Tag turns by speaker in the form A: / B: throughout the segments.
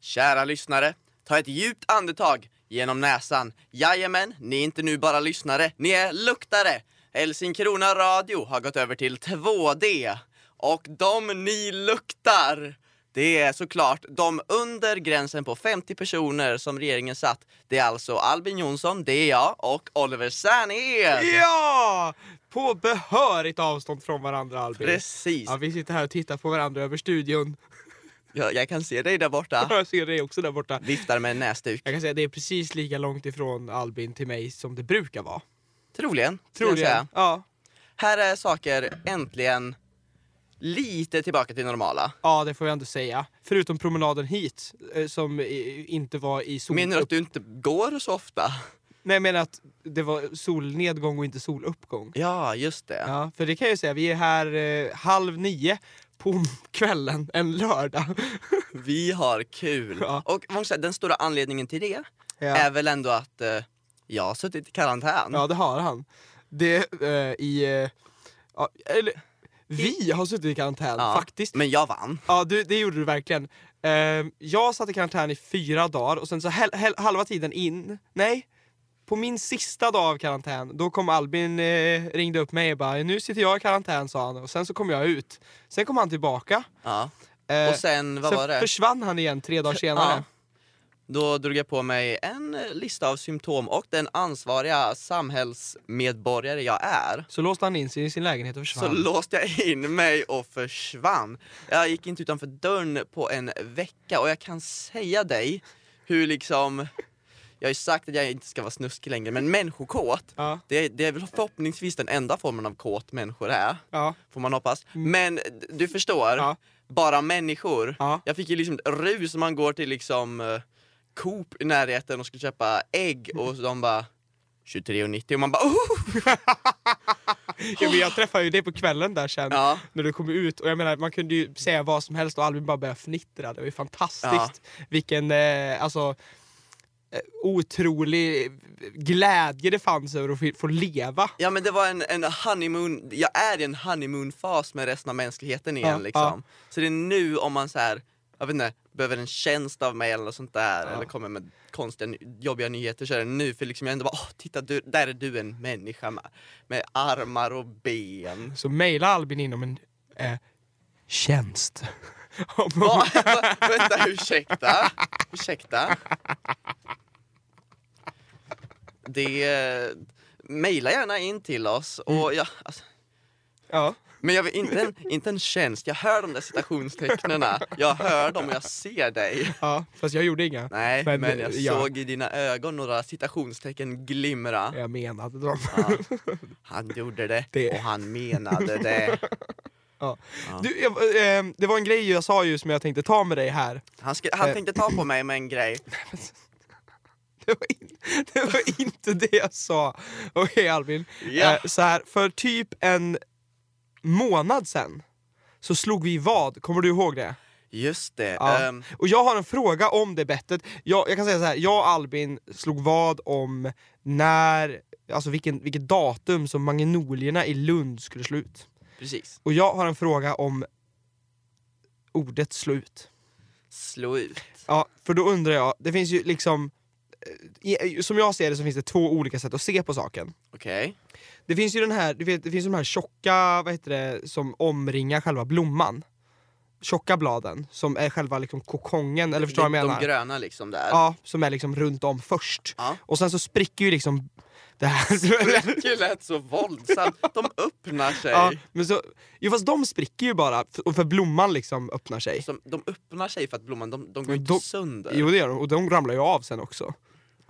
A: Kära lyssnare, ta ett djupt andetag genom näsan. Jajamän, ni är inte nu bara lyssnare, ni är luktare! Helsingkrona Radio har gått över till 2D. Och de ni luktar, det är såklart de under gränsen på 50 personer som regeringen satt. Det är alltså Albin Jonsson, det är jag, och Oliver Särnhed!
B: Ja! På behörigt avstånd från varandra Albin.
A: Precis!
B: Ja, vi sitter här och tittar på varandra över studion.
A: Jag, jag kan se dig där borta.
B: Jag ser dig också där borta.
A: Viftar med en näsduk.
B: Jag kan säga att det är precis lika långt ifrån Albin till mig som det brukar vara.
A: Troligen, skulle jag
B: Tror
A: säga.
B: jag. Ja.
A: Här är saker äntligen lite tillbaka till normala.
B: ja, det får jag ändå säga. Förutom promenaden hit eh, som eh, inte var i sol...
A: Menar du att du inte går så ofta?
B: Nej, jag menar att det var solnedgång och inte soluppgång.
A: Ja, just det.
B: Ja, för det kan jag ju säga, vi är här eh, halv nio på kvällen en lördag.
A: Vi har kul.
B: Ja.
A: Och man kan säga, den stora anledningen till det är
B: Ja,
A: väl ändå att eh, jag har suttit i karantän.
B: ja det har han. Det eh, i... Eh, ja, eller, vi har suttit i karantän
A: Ja,
B: faktiskt.
A: Men jag vann.
B: Ja, du, det gjorde du verkligen. Ehm, jag satt i karantän i fyra dagar och sen så hel, hel, halva tiden in, nej, på min sista dag av karantän, då kom Albin, eh, ringde upp mig och bara “nu sitter jag i karantän” sa han och sen så kom jag ut. Sen kom han tillbaka.
A: Ja.
B: Eh,
A: Och sen, vad
B: sen
A: var det?
B: försvann han igen tre dagar senare.
A: Ja. Då drog jag på mig en eh, lista av symptom och den ansvariga samhällsmedborgare jag är
B: Så låste han in sig i sin lägenhet och
A: så
B: försvann.
A: låste jag in mig och försvann. Jag gick inte utanför dörren på en vecka och jag kan säga dig hur liksom... Jag har ju sagt att jag inte ska vara snuskig längre, men människokåt,
B: ja,
A: det, det är väl förhoppningsvis den enda formen av kåt människor är,
B: ja,
A: får man hoppas. Men du förstår,
B: Mm. Ja.
A: bara människor.
B: ja.
A: Jag fick ju liksom ett rus om man går till liksom eh, Coop i närheten och skulle köpa ägg
B: Mm.
A: och de bara 23,90 och man bara oh!
B: ja men jag träffade ju dig på kvällen där sen.
A: Ja.
B: när du kom ut. Och jag menar, man kunde ju säga vad som helst och Albin bara började fnittra. Det var ju fantastiskt. Vilken eh, alltså, eh, otrolig glädje det fanns över att få, få leva.
A: Ja men det var en, en honeymoon, jag är i en honeymoon-fas med resten av mänskligheten igen
B: Ja,
A: liksom. Så det är nu om man så här, jag vet inte, behöver en tjänst av mig eller något sånt där
B: Ja.
A: eller kommer med konstiga, ny- jobbiga nyheter så är det nu för liksom jag ändå bara åh titta du, där är du en människa med, med armar och ben.
B: Så mejla Albin inom en eh, tjänst. Om-
A: Va? Vänta, ursäkta? Ursäkta? Det... eh, Mejla gärna in till oss
B: Mm.
A: och jag, alltså,
B: ja.
A: Men jag vill inte en, inte en tjänst, jag hör de där citationstecknen. Jag hör dem och jag ser dig.
B: ja, fast jag gjorde inga.
A: Nej, men,
B: Men,
A: jag
B: ja.
A: såg i dina ögon några citationstecken glimra.
B: Jag menade dem.
A: Ja. Han gjorde det,
B: Det-
A: och han menade det.
B: Du, jag, eh, det var en grej jag sa ju som jag tänkte ta med dig här.
A: Han, skri-
B: Eh.
A: han tänkte ta på mig med en grej.
B: Det var, in, det var inte det jag sa. Okej Albin.
A: Ja.
B: Eh, så här, för typ en månad sen så slog vi vad, kommer du ihåg det?
A: Just det.
B: Ja.
A: ehm,
B: Och jag har en fråga om det bettet. Jag, jag kan säga så här, jag och Albin slog vad om när, alltså vilken, vilket datum som magnolierna i Lund skulle slut.
A: precis.
B: Och jag har en fråga om ordet slut.
A: Slå ut.
B: Ja, för då undrar jag, det finns ju liksom, eh, i- som jag ser det så finns det två olika sätt att se på saken.
A: Okej.
B: Det finns ju den här, du vet, det finns de här tjocka, vad heter det, som omringar själva blomman. Tjocka bladen, som är själva liksom kokongen, eller förstår du
A: de,
B: vad jag menar?
A: de gröna liksom där.
B: ja, som är liksom runt om först.
A: Ja.
B: Och sen så spricker ju liksom det här...
A: Det lät så våldsamt. De öppnar sig.
B: ja, men så, jo fast de spricker ju bara, f- och för blomman liksom öppnar sig.
A: Som, de öppnar sig för att blomman, de, de går
B: Men
A: inte
B: de-
A: sönder.
B: Jo det gör de, och de ramlar ju av sen också.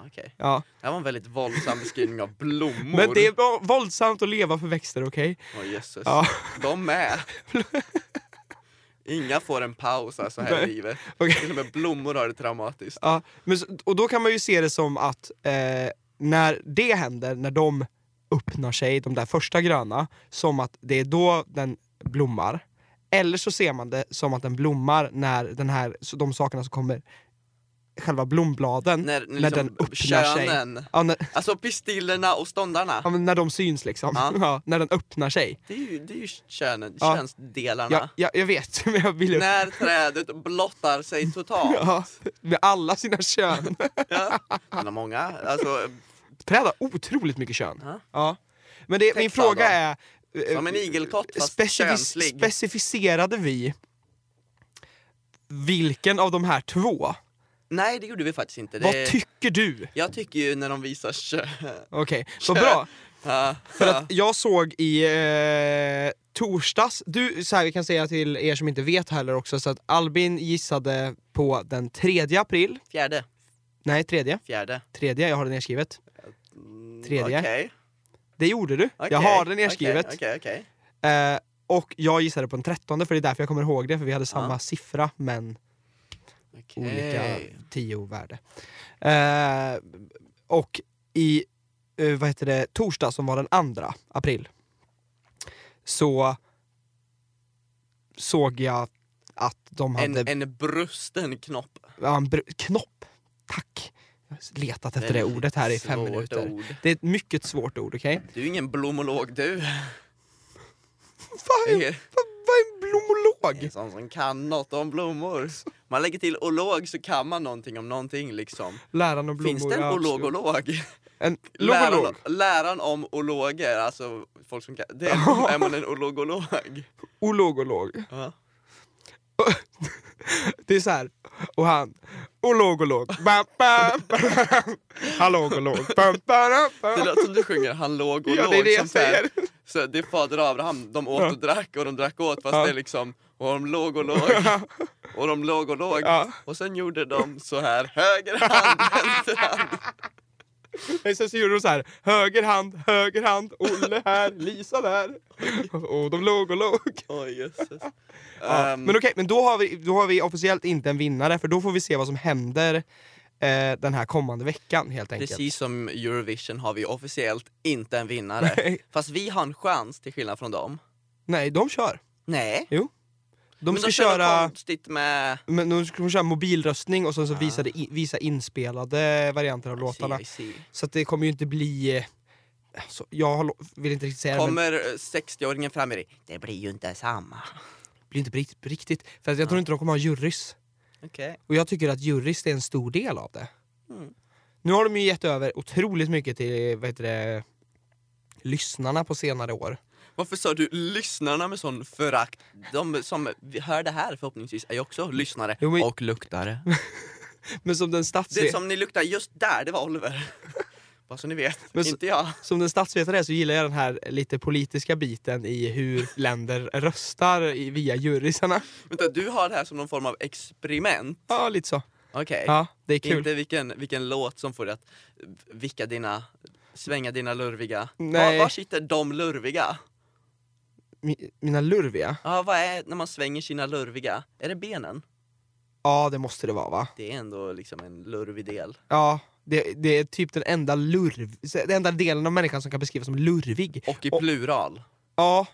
A: Okej.
B: Ja.
A: Det här var en väldigt våldsam beskrivning av blommor.
B: Men det är bara våldsamt att leva för växter, okej?
A: Åh, jösses.
B: Ja.
A: De med. Inga får en paus alltså här i
B: Nej.
A: livet.
B: Okej.
A: Till och med blommor har det traumatiskt.
B: Ja, men, så- och då kan man ju se det som att eh, när det händer, när de öppnar sig, de där första gröna, som att det är då den blommar. Eller så ser man det som att den blommar när den här, så de sakerna som kommer själva blombladen
A: När,
B: när,
A: när liksom
B: den öppnar sig.
A: könen-
B: Ja, när,
A: Alltså pistillerna och ståndarna.
B: ja, men när de syns liksom.
A: Ja.
B: Ja. när den öppnar sig.
A: Det är ju, det är ju könen,
B: Ja.
A: könsdelarna.
B: Ja, ja, jag vet, men jag vill ju...
A: När trädet blottar sig totalt.
B: Ja, med alla sina kön.
A: Ja. Han har många. Alltså,
B: Träd har otroligt mycket kön.
A: Ja.
B: Ja. Men det, min
A: Textad då.
B: fråga är... eh,
A: Som en igelkott, fast könslig.
B: Specificerade vi vilken av de här två?
A: nej, det gjorde vi faktiskt inte.
B: Vad
A: Det,
B: tycker du?
A: jag tycker ju när de visar kön.
B: Okej, så bra.
A: Ja.
B: För att jag såg i eh, torsdags, du, så här, vi kan säga till er som inte vet heller också, så att Albin gissade på den 3 april.
A: Fjärde.
B: Nej, tredje.
A: Fjärde.
B: Tredje, jag har det nerskrivet.
A: Mm,
B: Tredje.
A: okej,
B: Det gjorde du.
A: okej,
B: jag har det
A: okej,
B: nerskrivet.
A: Okej, okej.
B: Eh, och jag gissade på den trettonde för det är därför jag kommer ihåg det, för vi hade samma
A: Ja.
B: siffra men
A: Okej.
B: olika tio värde. Eh, och i eh, vad heter det, torsdag som var den andra april så såg jag att de hade en,
A: En, en brusten knopp.
B: ja, en br- knopp. Tack! Jag har letat efter det
A: Väldigt
B: ordet här i fem
A: svårt
B: minuter.
A: ord.
B: Det är ett mycket svårt ord, okej?
A: Du är ingen blomolog du.
B: Vad
A: Du
B: är
A: är
B: vad är en blomolog?
A: en sån som kan något om blommor. Man lägger till olog så kan man någonting om någonting liksom.
B: Läran om blommor.
A: Finns det en
B: ja, absolut.
A: olog-olog?
B: En
A: Läran,
B: logolog.
A: läran om ologer, alltså folk som kan... Det är, är man en ologolog?
B: Ologolog.
A: Ja.
B: Det är så här. Och han. Ologolog. Bam, bam, bam. Hallogolog. Bam, bam,
A: Det
B: bam.
A: låter som du sjunger, han låg och
B: Ja,
A: låg.
B: det är det jag
A: som så här-
B: säger.
A: Så det är fader Abraham, de åt
B: Ja.
A: och drack och de drack åt fast
B: Ja.
A: det är liksom och de låg och låg och de låg och låg
B: Ja.
A: och sen gjorde de så här höger hand, vänster hand.
B: Men Sen så gjorde de så här. Höger hand, höger hand. Olle här, Lisa där. Och de logolog.
A: Oj jösses.
B: Ja.
A: Ehm,
B: Men okej, men då har, vi, då har vi officiellt inte en vinnare för då får vi se vad som händer eh, den här kommande veckan helt enkelt.
A: Precis som Eurovision har vi officiellt inte en vinnare.
B: Nej,
A: Fast vi har en chans till skillnad från dem.
B: nej, de kör.
A: Nej.
B: De
A: men
B: ska
A: de kör något
B: köra...
A: konstigt med...
B: Men de skulle köra mobilröstning och sen så
A: Ah.
B: visa, det i, visa inspelade varianter av låtarna.
A: I see, I see.
B: Så att det kommer ju inte bli... eh, Alltså, jag har lo- vill inte riktigt säga det, men
A: Kommer eh, 60-åringen fram i dig? Det blir ju inte samma.
B: det blir inte på riktigt, på riktigt. För att jag tror inte de kommer ha jurys.
A: Okej.
B: Och jag tycker att jurys är en stor del av det.
A: Mm.
B: Nu har de ju gett över otroligt mycket till eh, vad heter det, lyssnarna på senare år.
A: Varför sa du lyssnarna med sån förakt? De som vi hör det här förhoppningsvis är ju också lyssnare
B: Jo, men-
A: och luktare.
B: Men som den, statsve-
A: Det
B: som...
A: som ni luktar just där, det var Oliver. Bara så ni vet,
B: Men så-
A: inte jag.
B: den statsvetare är så gillar jag den här lite politiska biten i hur länder röstar i, via jurysarna.
A: Vänta, du har det här som någon form av experiment.
B: Ja, lite så.
A: Okej.
B: Ja, det är
A: Det är
B: kul.
A: Inte vilken, vilken låt som får dig att vicka dina, svänga dina lurviga.
B: Nej.
A: Var, var sitter de lurviga?
B: Mi- Mina lurviga?
A: Ja, vad är när man svänger sina lurviga? Är det benen?
B: Ja, det måste det vara va?
A: Det är ändå liksom en lurvig del.
B: Ja, det, det är typ den enda lurv... Den enda delen av människan som kan beskrivas som lurvig.
A: Och i
B: Och-
A: plural.
B: Ja,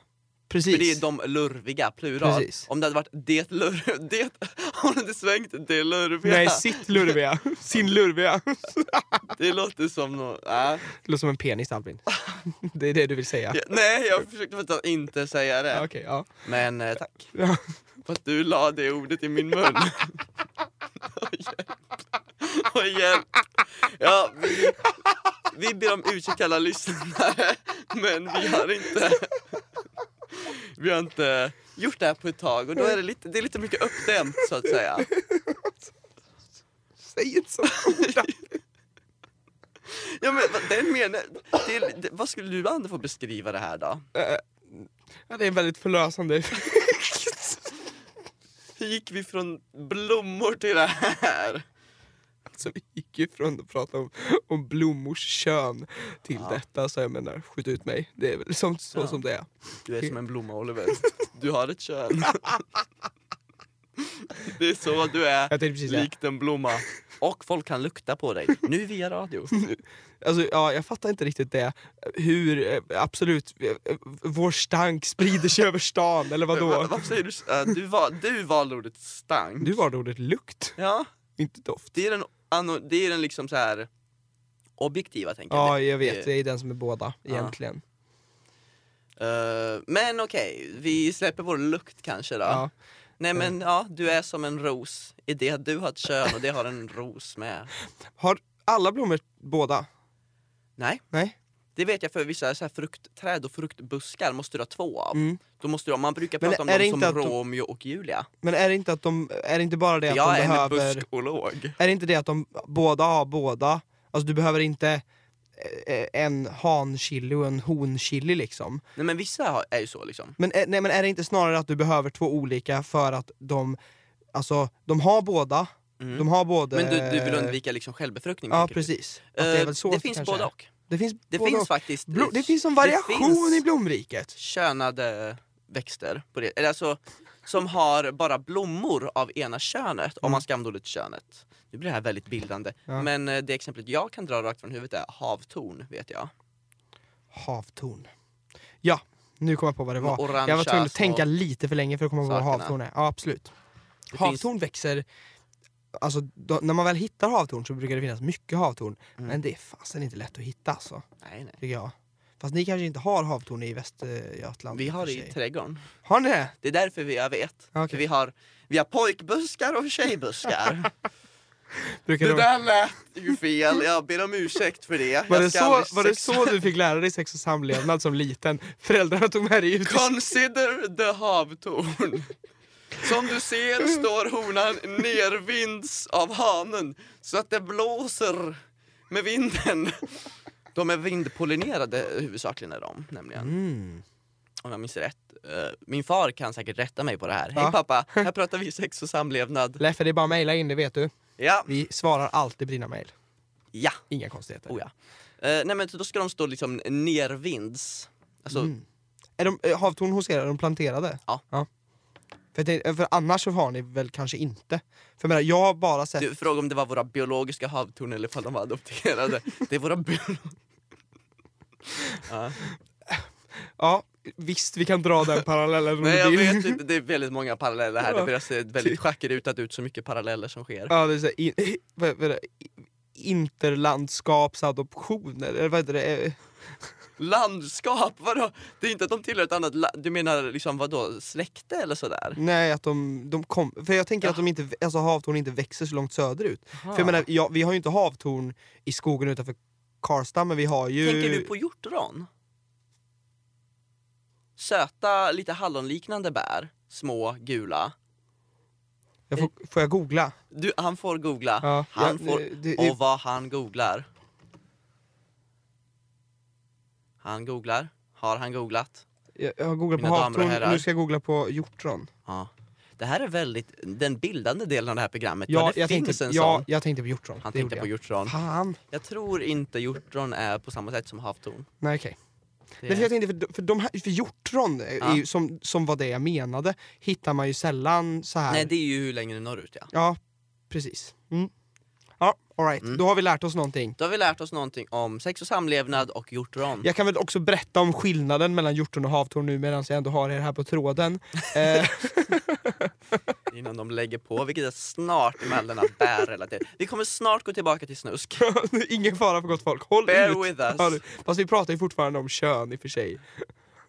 A: För det är
B: precis.
A: de lurviga, plural.
B: Precis.
A: Om det hade varit det lur... Det... Har du inte svängt det lurviga?
B: Nej, sitt lurviga. Sin lurviga.
A: Det låter som något... Äh.
B: Det låter som en penis Albin. Det är det du vill säga.
A: Ja, Nej, jag försökte för att inte säga det.
B: Ja, Okej, ja.
A: Men eh, tack.
B: Ja.
A: För att du la det ordet i min mun. Åh hjälp. Åh hjälp. Ja, vi, vi ber om ursäkt till alla lyssnare. Men vi har inte... Vi har inte gjort det här på ett tag och då är det lite, det är lite mycket uppdämt så att säga.
B: Säg inte så.
A: Ja, men vad- den menar, det, är- det, vad skulle du andra få beskriva det här då?
B: Ja, det är en väldigt förlösande effekt.
A: Hur gick vi från blommor till det här?
B: Som gick ifrån att prata om, om blommors kön till
A: Ja.
B: detta. Så jag menar, skjut ut mig. Det är väl som, så
A: Ja.
B: som det är.
A: Du är som en blomma Oliver. Du har ett kön. Det är så du är.
B: Jag tänkte precis säga.
A: Likt en blomma. Och folk kan lukta på dig. Nu via radio.
B: Alltså, ja, jag fattar inte riktigt det. Hur, eh, absolut, eh, eh, vår stank sprider sig över stan, eller
A: Va-
B: vadå?
A: Varför säger du s- eh, Du, val, du valde ordet stank.
B: Du valde ordet lukt.
A: Ja.
B: Inte doft.
A: Det är den, ano- det är den liksom så här objektiva tänker jag.
B: Ja, jag vet.
A: det-
B: Det är den som är båda
A: Ja.
B: egentligen.
A: Eh, men okej, vi släpper vår lukt kanske då.
B: Ja.
A: Nej
B: Eh.
A: men ja, du är som en ros i det att du har ett kön och det har en ros med.
B: Har alla blommor båda?
A: Nej,
B: Nej?
A: det vet jag för vissa så här fruktträd och fruktbuskar måste du ha två av.
B: Mm.
A: Då måste du, ha- man brukar
B: Men
A: prata om
B: är det
A: dem som
B: inte att de-
A: Romeo och Julia.
B: Men är det inte att de, är det inte bara det att
A: Jag
B: de
A: är en
B: behöver...
A: buskolog.
B: Är det inte det att de båda har båda? Alltså du behöver inte eh, en hanchili och en honchili liksom.
A: Nej men vissa har, är ju så liksom.
B: Men, eh, nej, men är det inte snarare att du behöver två olika för att de, alltså de har båda.
A: Mm.
B: De har både...
A: Men du, du vill undvika liksom självbefruktning?
B: Ja
A: tänker du?
B: precis. Att det är
A: Eh,
B: väl så
A: det
B: att
A: finns
B: kanske
A: både
B: är.
A: och.
B: Det finns
A: Det
B: både
A: finns
B: och.
A: faktiskt
B: Blo- det finns en variation
A: finns-
B: i blomriket.
A: könade växter på det. Eller alltså, som har bara blommor av ena könet, om man ska använda ordet könet. Nu blir det här väldigt bildande.
B: Mm. Ja.
A: Men eh, det exemplet jag kan dra rakt från huvudet är havtorn, vet jag.
B: Havtorn. Ja, nu kom jag på vad det
A: De
B: var.
A: orangea
B: Jag var tvungen att
A: små-
B: tänka lite för länge för att komma på vad
A: sakerna.
B: havtorn är. Ja, absolut.
A: Det finns-
B: Havtorn växer, alltså då, när man väl hittar havtorn så brukar det finnas mycket havtorn.
A: Mm.
B: Men det är fasen inte lätt att hitta alltså,
A: Nej, nej.
B: tycker jag. Fast ni kanske inte har havtorn i Västergötland?
A: Vi
B: i
A: har
B: och
A: det
B: för
A: i
B: sig.
A: trädgården.
B: Har ni det?
A: Det är därför vi har vet.
B: Okej.
A: För vi, har, vi har pojkbuskar och tjejbuskar.
B: Brukar
A: det
B: de...
A: där lät ju fel, jag ber om ursäkt för det.
B: Var,
A: Jag
B: det
A: ska
B: så,
A: aldrig
B: var det
A: sexa-
B: så du fick lära dig sex och samlevnad som liten? Föräldrarna tog med dig ut i
A: Consider the havtorn. Som du ser står honan nervinds av hanen så att det blåser med vinden. De är vindpollinerade huvudsakligen är de nämligen.
B: Mm.
A: Om jag minns rätt. Eh, Min far kan säkert rätta mig på det här.
B: Ja.
A: Hej pappa, här pratar vi sex och samlevnad.
B: Leffe, det är bara att mejla in det vet du.
A: Ja,
B: Vi svarar alltid på dina mejl.
A: ja,
B: Inga konstigheter.
A: oh ja. Eh, nej men så då ska de stå liksom nervinds. Alltså,
B: Mm. Är de, eh, havtorn hos er, är de planterade?
A: Ja.
B: För, jag tänkte- för annars så har ni väl kanske inte? För jag, menar, jag har bara sett...
A: du frågade om det var våra biologiska havtorn eller om de var adopterade. Det är våra biologiska. Ja.
B: Ja, visst vi kan dra den parallellen om
A: Nej
B: du
A: jag
B: vill.
A: vet inte, det är väldigt många paralleller här.
B: Ja.
A: Det ser väldigt schackerutat ut så mycket paralleller som sker.
B: Ja, det är så här, in, vad, vad är det? Interlandskapsadoption, eller vad heter det? Eh,
A: Landskap, vadå? Det är inte att de tillhör ett annat land, du menar liksom vadå, släkte eller sådär?
B: Nej, att de, de kom... För jag tänker
A: Ja.
B: att de inte, alltså, havtorn inte växer så långt söderut. För
A: Ah.
B: jag menar, ja, vi har ju inte havtorn i skogen utanför Karlstad, men vi har ju...
A: Tänker du på hjortron? Söta, lite hallonliknande bär, små, gula.
B: Jag får, får jag googla?
A: Du, han får googla.
B: Ja.
A: Han
B: Ja,
A: får,
B: det- det-
A: och vad han googlar. Han googlar. Har han googlat?
B: Jag, jag har googlat på
A: Mina damer och
B: havtorn,
A: herrar.
B: nu ska jag googla på hjortron.
A: Ja. Det här är väldigt den bildande delen av det här programmet.
B: Ja,
A: det
B: jag
A: finns
B: tänkte,
A: en
B: ja,
A: sån.
B: jag tänkte på hjortron.
A: Han
B: Det
A: tänkte på
B: gjorde
A: hjortron.
B: jag. Fan!
A: Jag tror inte hjortron är på samma sätt som havtorn.
B: Nej okej.
A: Det
B: Nej, för jag tänkte, för, för, de här, för hjortron, eh, är
A: Ja.
B: ju, som, som var det jag menade, hittar man ju sällan så här.
A: Nej, det är ju längre norrut ja.
B: Ja, precis. Mm. Ja, alright.
A: Mm.
B: Då har vi lärt oss någonting.
A: Då har vi lärt oss någonting om sex och samlevnad och hjortron.
B: Jag kan väl också berätta om skillnaden mellan hjortron och havtorn nu medan jag ändå har er här på tråden. Eh,
A: Innan de lägger på, vilket är snart mellan att bär relaterat. Vi kommer snart gå tillbaka till snusk.
B: ingen fara för gott folk, håll
A: Bear
B: ut!
A: with us.
B: Ja, du. Fast vi pratar ju fortfarande om kön i och för sig.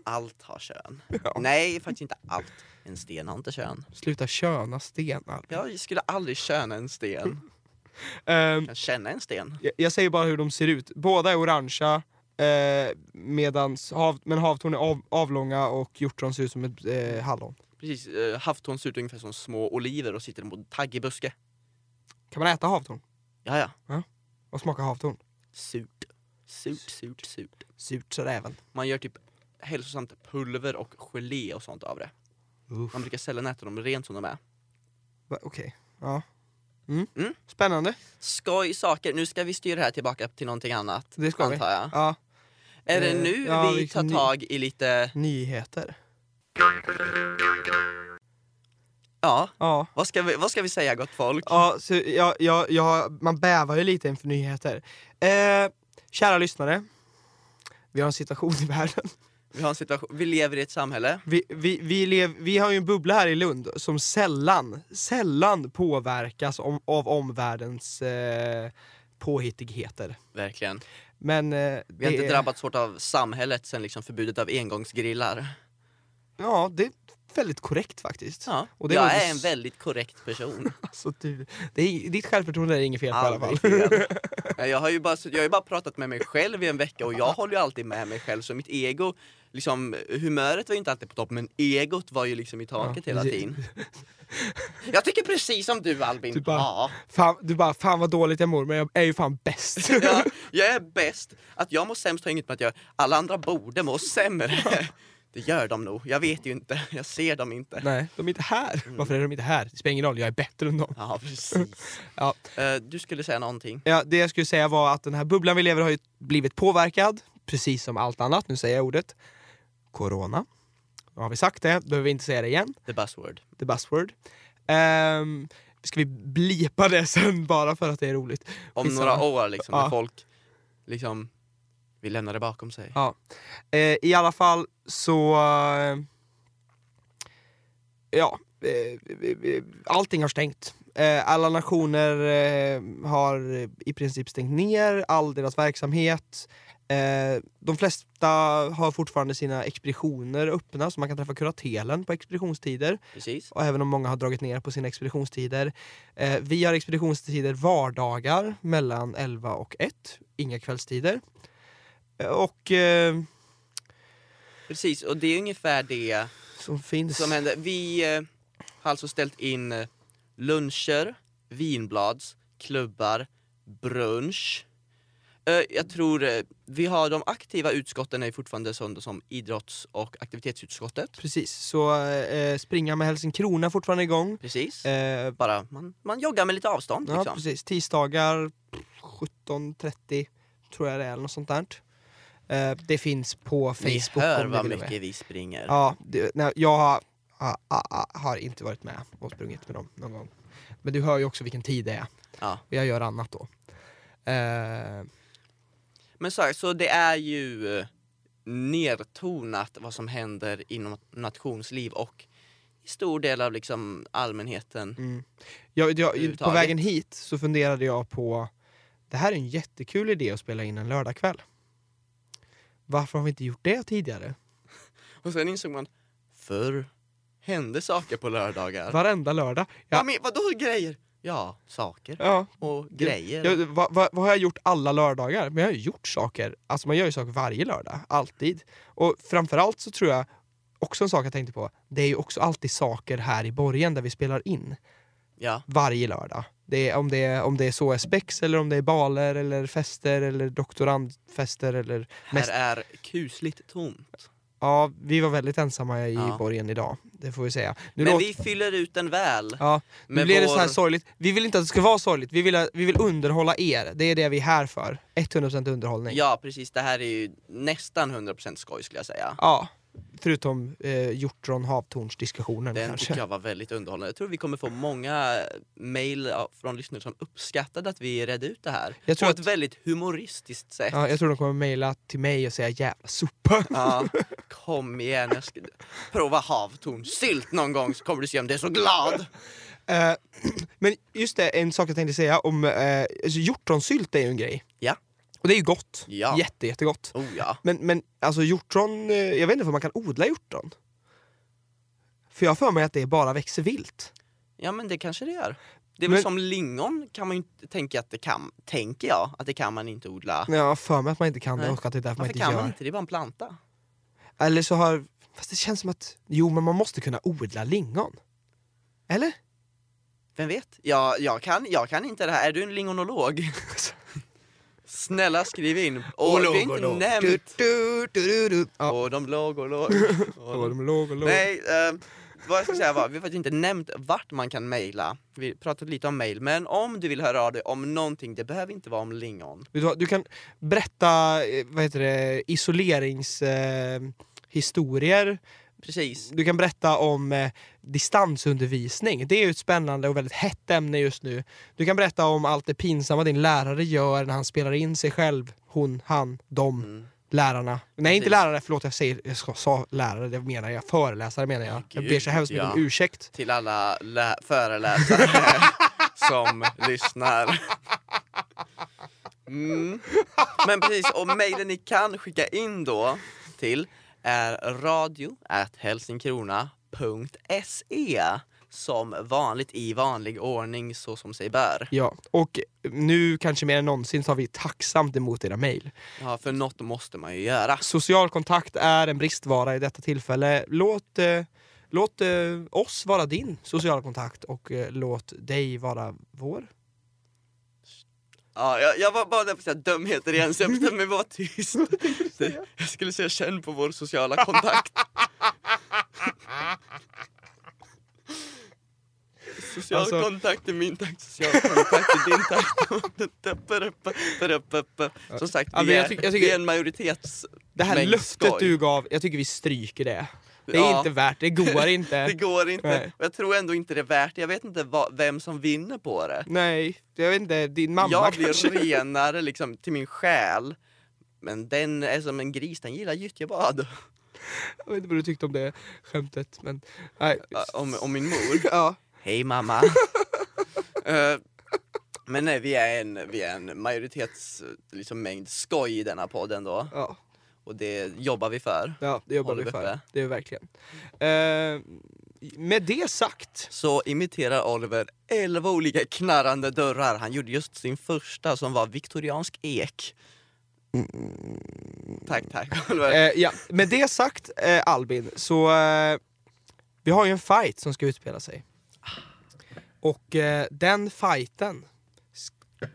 A: Allt har kön. Nej, faktiskt inte allt. En sten har inte kön.
B: Sluta köna stenar.
A: Jag skulle aldrig köna en sten.
B: Ehm,
A: Jag känner en sten.
B: Jag, jag säger bara hur de ser ut. Båda är orangea, eh, medans hav, men havtorn är av, avlånga och hjortron ser ut som ett eh, hallon.
A: Precis, eh, havtorn ser ut ungefär som små oliver och sitter mot taggig buske.
B: Kan man äta havtorn?
A: Ja, ja.
B: Vad smakar havtorn?
A: Surt. Surt, surt, surt.
B: Surt så räven.
A: Man gör typ hälsosamt pulver och gelé och sånt av det. Man brukar sällan äta dem rent som de är.
B: Va- Okej, ja. Mm.
A: Mm.
B: Spännande.
A: Skoj saker. Nu ska vi styra det här tillbaka till någonting annat.
B: Det ska vi.
A: antar jag.
B: Ja,
A: Är det
B: Eh,
A: nu
B: ja,
A: vi
B: vi-
A: tar
B: ni-
A: tag i lite,
B: nyheter.
A: ja,
B: Ja.
A: vad ska vi, vad ska vi säga gott folk?
B: Ja, så jag, jag, jag, man bävar ju lite inför nyheter. Eh, kära lyssnare, vi har en situation i världen.
A: Vi har en situation, vi lever i ett samhälle.
B: Vi, vi, vi, lev, vi har ju en bubbla här i Lund som sällan, sällan påverkas om, av omvärldens eh, påhittigheter.
A: Verkligen.
B: Men eh,
A: Vi har inte drabbats hårt av samhället sen liksom förbudet av engångsgrillar.
B: Ja, det är väldigt korrekt faktiskt.
A: Ja,
B: Och det var
A: jag
B: ju
A: är en
B: s-
A: väldigt korrekt person.
B: Alltså, du, det är, ditt självförtroende är inget fel på i alla fall.
A: Aldrig fel. Nej, Jag har, ju bara, jag har ju bara pratat med mig själv i en vecka och jag håller ju alltid med mig själv så mitt ego, liksom humöret var ju inte alltid på topp men egot var ju liksom i taket
B: Ja,
A: hela
B: det-
A: tiden. Jag tycker precis som du Albin.
B: Du Typ bara-
A: Ja.
B: Fan, du bara, fan vad dåligt jag mår men jag är ju fan bäst.
A: Ja, jag är bäst. Att jag mår sämst har inget med att göra. Alla andra borde må sämre. Det gör de nog. Jag vet ju inte. Jag ser dem inte.
B: Nej, Mm. de är inte här. Varför är de inte här? Det spelar ingen roll, jag är bättre än dem.
A: Ja, precis.
B: Ja.
A: Eh, Du skulle säga någonting.
B: Ja, det jag skulle säga var att den här bubblan vi lever i har ju blivit påverkad, precis som allt annat, nu säger jag ordet, corona. Nu har vi sagt det, behöver vi inte säga det igen,
A: The buzzword.
B: the buzzword. Um, ska vi blipa det sen bara för att det är roligt?
A: Om
B: Skitsamma.
A: några år liksom, när
B: Ja.
A: folk liksom vill lämna det bakom sig.
B: Ja. Eh, I alla fall så... Eh, ja, eh, vi- vi- allting har stängt. Eh, alla nationer eh, har i princip stängt ner all deras verksamhet. Eh, de flesta har fortfarande sina expeditioner öppna så man kan träffa kuratelen på expeditionstider.
A: Precis.
B: Och även om många har dragit ner på sina expeditionstider. Eh, vi har expeditionstider vardagar mellan 11 och 1. Inga kvällstider. Eh, Och eh,
A: Precis, och det är ungefär det
B: som finns...
A: som hände. Vi eh, har alltså ställt in eh, luncher, vinblads, klubbar, brunch. Eh, jag tror eh, vi har de aktiva utskotten är fortfarande sådana som idrotts och aktivitetsutskottet.
B: Precis, så eh, springa med Helsingkrona fortfarande igång.
A: Precis.
B: Eh,
A: Bara man, man joggar med lite avstånd
B: ja,
A: liksom.
B: precis. Tisdagar 17.30 tror jag det är, eller något sånt där. Eh, det finns på
A: Ni
B: Facebook
A: hör
B: om
A: vad
B: ni vill vara med.
A: mycket vi springer.
B: Ja, det, nej, jag har, ah, ah, ah, har inte varit med och sprungit med dem någon gång. Men du hör ju också vilken tid det är.
A: Ja.
B: Och jag gör annat då. Eh,
A: Men så, här, så det är ju eh, nertonat vad som händer inom nationsliv och i stor del av liksom allmänheten.
B: Mm. Jag, jag, på
A: Överhuvudtaget.
B: vägen hit så funderade jag på, det här är en jättekul idé att spela in en lördagkväll. Varför har vi inte gjort det tidigare?
A: Och sen insåg man, förr hände saker på lördagar. Va?
B: Varenda lördag.
A: Ja,
B: Ja.
A: men vadå grejer? Ja, saker
B: Ja.
A: och grejer.
B: Jag, vad, vad, vad har jag gjort alla lördagar? Men jag har ju gjort saker, alltså man gör ju saker varje lördag, alltid. Och framförallt så tror jag, också en sak jag tänkte på, det är ju också alltid saker här i borgen där vi spelar in.
A: Ja,
B: varje lördag. Det är, om, det är, om det är så är spex eller om det är baler eller fester eller doktorandfester eller...
A: här
B: Mest,
A: är kusligt tomt.
B: ja, vi var väldigt ensamma i
A: Ja.
B: borgen idag. Det får vi säga. Nu,
A: Men
B: låter,
A: vi fyller ut den väl.
B: ja, nu
A: med
B: blir det
A: vår-
B: så här sorgligt. Vi vill inte att det ska vara sorgligt. Vi vill, vi vill underhålla er. Det är det vi är här för. 100% underhållning.
A: Ja, precis. Det här är ju nästan 100% skoj skulle jag säga.
B: Ja, förutom eh, hjortron havtornsdiskussionen
A: Den
B: kanske.
A: tycker jag var väldigt underhållande. Jag tror vi kommer få många mejl av- från lyssnare som uppskattade att vi redde ut det här.
B: Jag tror
A: På ett
B: att-
A: väldigt humoristiskt sätt.
B: Ja, jag tror de kommer mejla till mig och säga jävla sopa.
A: Ja, kom igen, jag ska prova havtornsylt någon gång så kommer du se om du är så glad.
B: Eh, men just det, en sak jag tänkte säga om eh, alltså hjortronsylt är ju en grej.
A: Ja.
B: Och det är ju gott.
A: Ja.
B: Jätte, jättegott.
A: Oh ja.
B: Men, men alltså hjortron, eh, jag vet inte om man kan odla hjortron. För jag har för mig att det bara växer vilt.
A: Ja men det kanske det gör. Det är väl
B: Men-
A: som lingon kan man ju inte tänka att det kan, tänker jag, att det kan man inte odla.
B: Men Jag har för mig att man inte kan
A: Nej.
B: det och att det är därför man
A: Varför
B: inte
A: kan
B: gör.
A: man inte? Det är bara en planta.
B: Eller så har, fast det känns som att, jo men man måste kunna odla lingon. Eller?
A: Vem vet? Jag, jag, kan, jag kan inte det här. Är du en lingonolog? Snälla skriv in. Och vi har inte
B: Ologolog.
A: nämnt.
B: Du, du, du, du. Ja.
A: Och de låg och låg.
B: Och de låg och låg.
A: Nej, eh, vad jag ska säga var, vi har faktiskt inte nämnt vart man kan mejla. Vi pratade lite om mejl, men om du vill höra av dig om någonting, det behöver inte vara om lingon.
B: Vet Du, vad, du kan berätta eh, vad heter det, isoleringshistorier. Eh, historier.
A: Precis.
B: du kan berätta om eh, distansundervisning. Det är ju ett spännande och väldigt hett ämne just nu. Du kan berätta om allt det pinsamma din lärare gör när han spelar in sig själv, hon, han, dem.
A: Mm.
B: lärarna. Nej, inte
A: Precis.
B: lärare, förlåt jag säger, jag ska, sa lärare, det menar jag. Föreläsare menar jag. jag ber
A: Gud,
B: så hemskt mycket om
A: ja.
B: ursäkt.
A: Till alla lä- föreläsare som lyssnar. Mm. Men precis, och mejlen ni kan skicka in då till är radio som vanligt i vanlig ordning så som sig bör.
B: Ja, och nu kanske mer än någonsin så har vi tacksamt emot era mejl.
A: Ja, för något måste man ju göra.
B: Social kontakt är en bristvara i detta tillfälle. Låt, eh, låt eh, oss vara din sociala kontakt och eh, låt dig vara vår.
A: Ja, jag, jag var bara där på att säga dumheter igen så jag bestämde mig vara tyst. Det, jag skulle säga känn på vår sociala kontakt. Social
B: Alltså-
A: kontakt är min takt, social kontakt är din takt. Som sagt,
B: Ja, men
A: vi
B: jag
A: är,
B: tycker- jag tycker-
A: vi är en majoritets...
B: Det här
A: Mängd
B: löftet
A: skoj.
B: du gav, jag tycker vi stryker det. Det är
A: Ja.
B: inte värt, det går inte.
A: Det går inte.
B: Nej.
A: Och jag tror ändå inte det är värt det. Jag vet inte vad, vem som vinner på det.
B: Nej, jag vet inte, din mamma
A: jag blir
B: kanske?
A: renare liksom till min själ. Men den är som en gris, den gillar gyttjebad.
B: Jag vet inte vad du tyckte om det skämtet men... Nej.
A: Ja, Om, om min mor.
B: Ja.
A: Hej mamma. Eh, men nej, vi är en, vi är en majoritets liksom, mängd skoj i denna podden då.
B: Ja,
A: Och det jobbar vi för.
B: ja, det jobbar
A: Håller
B: vi
A: vi
B: för.
A: uppe.
B: Det är verkligen. Eh, med det sagt,
A: Så imiterar Oliver 11 olika knarrande dörrar. Han gjorde just sin första som var viktoriansk ek. Tack, tack Oliver.
B: eh, ja, med det sagt eh, Albin, så eh, vi har ju en fight som ska utspela sig. Och eh, den fighten sk-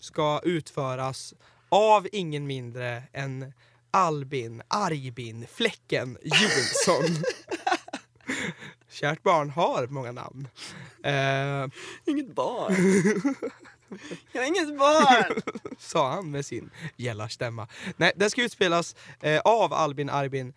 B: ska utföras av ingen mindre än Albin Argbin Fläcken Jonsson. Kärt barn har många namn. Eh,
A: Inget barn. Jag är inget barn!
B: sa han med sin gällarstämma. Nej, den ska utspelas eh, av Albin Arbin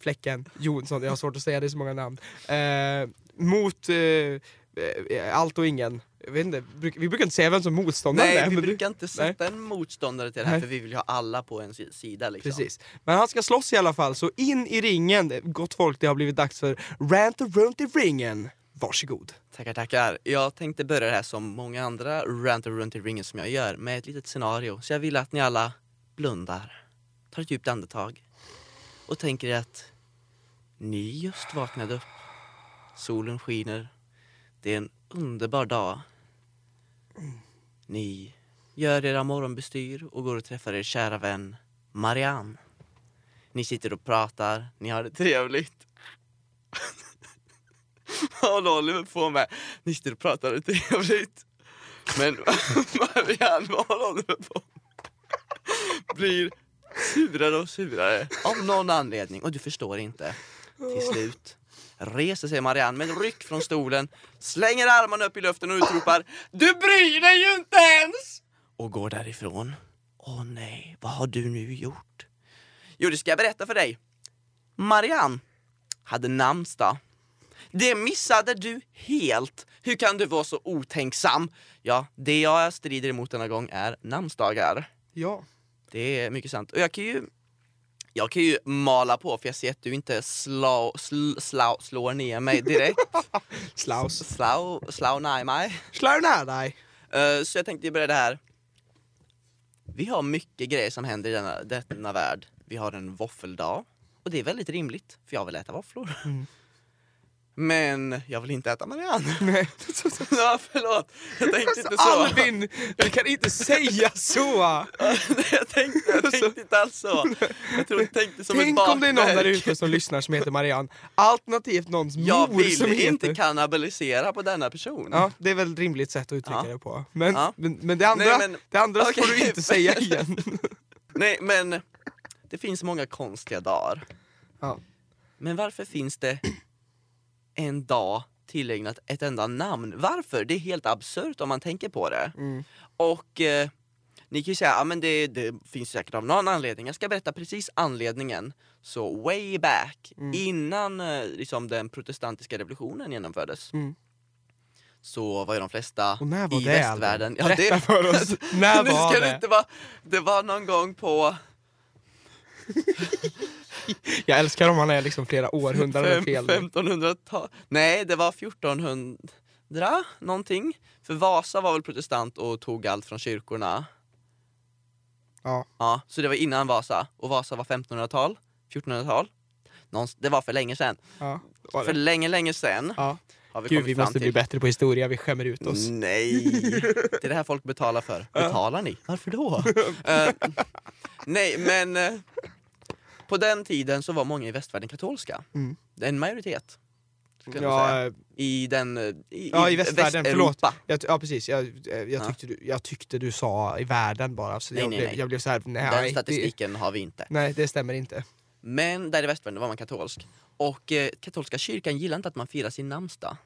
B: Fläcken Jonsson, jag har svårt att säga det är så många namn, eh, mot eh, eh, allt och ingen. Jag vet inte, bruk, vi brukar inte säga vem som motståndaren är.
A: Nej, vi
B: men du-
A: brukar inte sätta en motståndare till det här
B: Nej.
A: för vi vill ju ha alla på en si- sida liksom.
B: Precis. Men han ska slåss i alla fall, så in i ringen, gott folk, det har blivit dags för Rant och Runt i ringen. Varsågod.
A: Tackar, tackar. Jag tänkte börja det här som många andra rantar runt i ringen som jag gör med ett litet scenario. Så jag vill att ni alla blundar, tar ett djupt andetag och tänker er att ni just vaknade upp. Solen skiner. Det är en underbar dag. Ni gör era morgonbestyr och går och träffar er kära vän Marianne. Ni sitter och pratar, ni har det trevligt. Vad håller Oliver på med? Ni sitter och pratar och trevligt. Men Marianne, vad håller Oliver på med? Blir surare och surare av någon anledning och du förstår inte. Till slut reser sig Marianne med en ryck från stolen, slänger armarna upp i luften och utropar Du bryr dig ju inte ens! Och går därifrån. Åh nej, vad har du nu gjort? Jo, det ska jag berätta för dig. Marianne hade namnsdag. Det missade du helt! Hur kan du vara så otänksam? Ja, det jag strider emot denna gång är namnsdagar.
B: Ja.
A: Det är mycket sant. Och jag kan ju, jag kan ju mala på för jag ser att du inte slå, sl, slå, slår ner mig direkt.
B: Slaus.
A: slå, slå ner mig.
B: Slår nära dig.
A: Eh, så jag tänkte börja det här. Vi har mycket grejer som händer i denna, denna värld. Vi har en våffeldag. Och det är väldigt rimligt, för jag vill äta våfflor.
B: Mm.
A: Men jag vill inte äta Marianne.
B: Nej.
A: ja, förlåt. Jag tänkte inte så.
B: Alltså, Albin, du kan inte säga så!
A: Nej, jag, tänkte, jag tänkte inte alls så. Jag tror jag tänkte som ett
B: Alltså, Tänk om det är någon där
A: bakverk.
B: ute som lyssnar som heter Marianne, alternativt någons
A: Jag
B: mor som
A: vill inte
B: heter...
A: kannibalisera på denna person.
B: Ja, det är väl ett rimligt sätt att uttrycka
A: Ja.
B: det på. Men,
A: Ja.
B: men, men det andra,
A: Nej, men-
B: det andra får
A: Okej.
B: du inte säga igen.
A: Nej, men det finns många konstiga dagar.
B: Ja.
A: Men varför finns det en dag tillägnat ett enda namn? Varför? Det är helt absurt om man tänker på det.
B: Mm.
A: Och eh, ni kan ju säga, ja men det, det finns säkert av någon anledning. Jag ska berätta precis anledningen. Så way back,
B: Mm.
A: innan eh, liksom, den protestantiska revolutionen genomfördes.
B: Mm.
A: Så var ju de flesta
B: Och när var
A: i
B: det, Albin?
A: västvärlden...
B: Berätta för oss, när
A: nu
B: var
A: ska
B: det?
A: det inte vara... Det var någon gång på
B: Jag älskar om han är liksom flera århundraden
A: Fem,
B: fel.
A: 1500-tal? Nej, det var 1400 någonting. För Vasa var väl protestant och tog allt från kyrkorna.
B: Ja.
A: Ja, så det var innan Vasa. Och Vasa var 1500-tal, 1400-tal. Någonst- det var för länge sedan.
B: Ja, var
A: För
B: det.
A: länge, länge sedan
B: ja.
A: har vi
B: Gud,
A: kommit
B: vi
A: fram
B: måste
A: till. Mm,
B: bli bättre på historia, vi skämmer ut oss.
A: Nej! Det är det här folk betalar för. Betalar ni? Varför då? Eh, nej, men eh, på den tiden så var många i västvärlden katolska.
B: Mm.
A: Det är En majoritet. skulle jag säga.
B: Ja, eh,
A: I den... eh, I,
B: Ja, i västvärlden,
A: Västeuropa.
B: jag, ty- ja precis, jag, eh, jag,
A: Ja.
B: tyckte du, jag tyckte du sa i världen bara, så
A: Nej,
B: jag,
A: nej,
B: blev,
A: nej.
B: jag blev såhär, nej,
A: Den statistiken har vi inte.
B: Det, nej det stämmer inte.
A: Men där i västvärlden var man katolsk. Och eh, katolska kyrkan gillar inte att man firar sin namnsdag.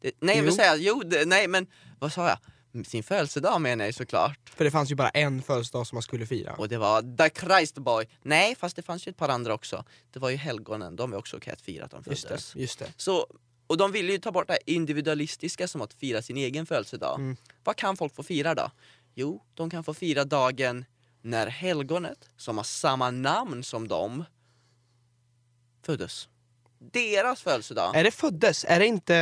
A: Det, nej, jag vill
B: Jo.
A: säga, jo, det, nej men vad sa jag? Sin födelsedag menar jag ju såklart.
B: För det fanns ju bara en födelsedag som man skulle fira.
A: Och det var The Christ Boy. Nej, fast det fanns ju ett par andra också. Det var ju helgonen, de är också okej att fira att de
B: Just
A: föddes.
B: det, just det.
A: Så, och de ville ju ta bort det här individualistiska som att fira sin egen födelsedag.
B: Mm.
A: Vad kan folk få fira då? Jo, de kan få fira dagen när helgonet, som har samma namn som dem, föddes. Deras födelsedag.
B: Är det föddes? Är det inte...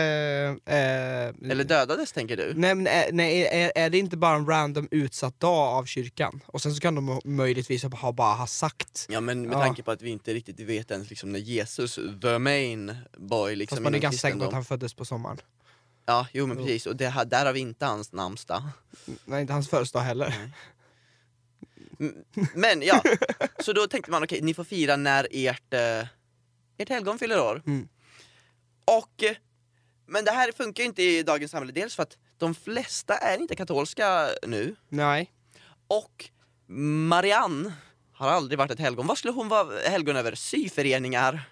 B: Eh,
A: Eller dödades tänker du?
B: Nej, men är, nej är, är det inte bara en random utsatt dag av kyrkan? Och sen så kan de möjligtvis ha, bara ha sagt,
A: Ja men med
B: Ja.
A: tanke på att vi inte riktigt vet ens liksom när Jesus, the main boy liksom
B: fast man är
A: inom
B: ganska säker på
A: kristendom-
B: att han föddes på sommaren.
A: Ja, jo men
B: Jo.
A: precis. Och det, här- där har vi inte hans namnsdag.
B: Nej, inte hans födelsedag heller.
A: Mm, Men ja, så då tänkte man okej, ni får fira när ert, eh, ert helgon fyller år.
B: Mm.
A: Och, eh, men det här funkar ju inte i dagens samhälle, dels för att de flesta är inte katolska nu,
B: Nej.
A: och Marianne har aldrig varit ett helgon. Vad skulle hon vara helgon över? Syföreningar?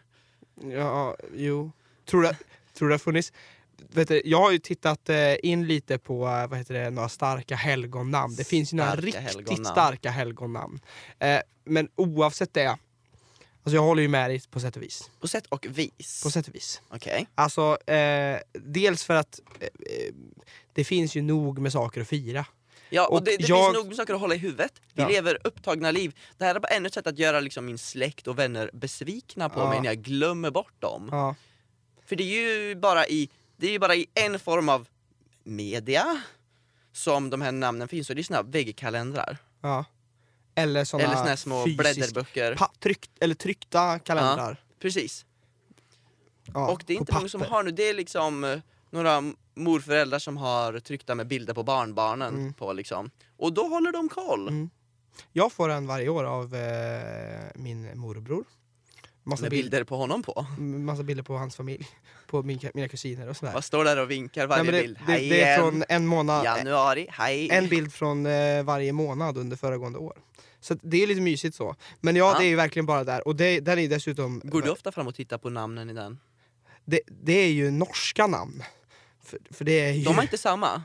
B: Ja, jo. Tror du, tror du det har funnits... Vet du, jag har ju tittat eh, in lite på eh, vad heter det, några starka helgonnamn. Det finns ju några
A: Starka
B: riktigt
A: helgonnamn.
B: starka helgonnamn. Eh, men oavsett det, alltså jag håller ju med dig på sätt och vis.
A: På sätt och vis.
B: På sätt och vis.
A: Okej.
B: Alltså, eh, dels för att eh, eh, det finns ju nog med saker att fira.
A: Ja, och,
B: Och
A: det, det
B: jag-
A: finns nog saker att hålla i huvudet. Vi
B: Ja.
A: lever upptagna liv. Det här är bara ännu ett sätt att göra liksom min släkt och vänner besvikna på
B: Ja.
A: mig när jag glömmer bort dem.
B: Ja.
A: För det är ju bara i, det är ju bara i en form av media som de här namnen finns och det är såna här väggkalendrar.
B: ja. Eller såna,
A: Eller såna här små blädderböcker.
B: pa- tryck, eller tryckta kalendrar.
A: Precis.
B: Ja.
A: och det är
B: på
A: inte många som
B: papper.
A: har nu, det är liksom eh, några morföräldrar som har tryckta med bilder på barnbarnen
B: Mm.
A: på liksom. Och då håller de koll.
B: Mm. Jag får en varje år av eh, min morbror. Massa,
A: Med
B: Alltså, bild-
A: bilder på honom på.
B: m- massa bilder på hans familj, på min, mina kusiner och sådär.
A: Vad står där och vinkar varje
B: Nej, men det,
A: bild?
B: det,
A: Hej
B: det är
A: igen.
B: från en månad,
A: Januari, hej!
B: en bild från eh, varje månad under föregående år. Så att det är lite mysigt så. Men ja,
A: Ja.
B: det är ju verkligen bara där. Och det, den är ju dessutom...
A: Går du ofta fram och tittar på namnen i den?
B: det, det är ju norska namn. För, för det är ju...
A: De har inte samma?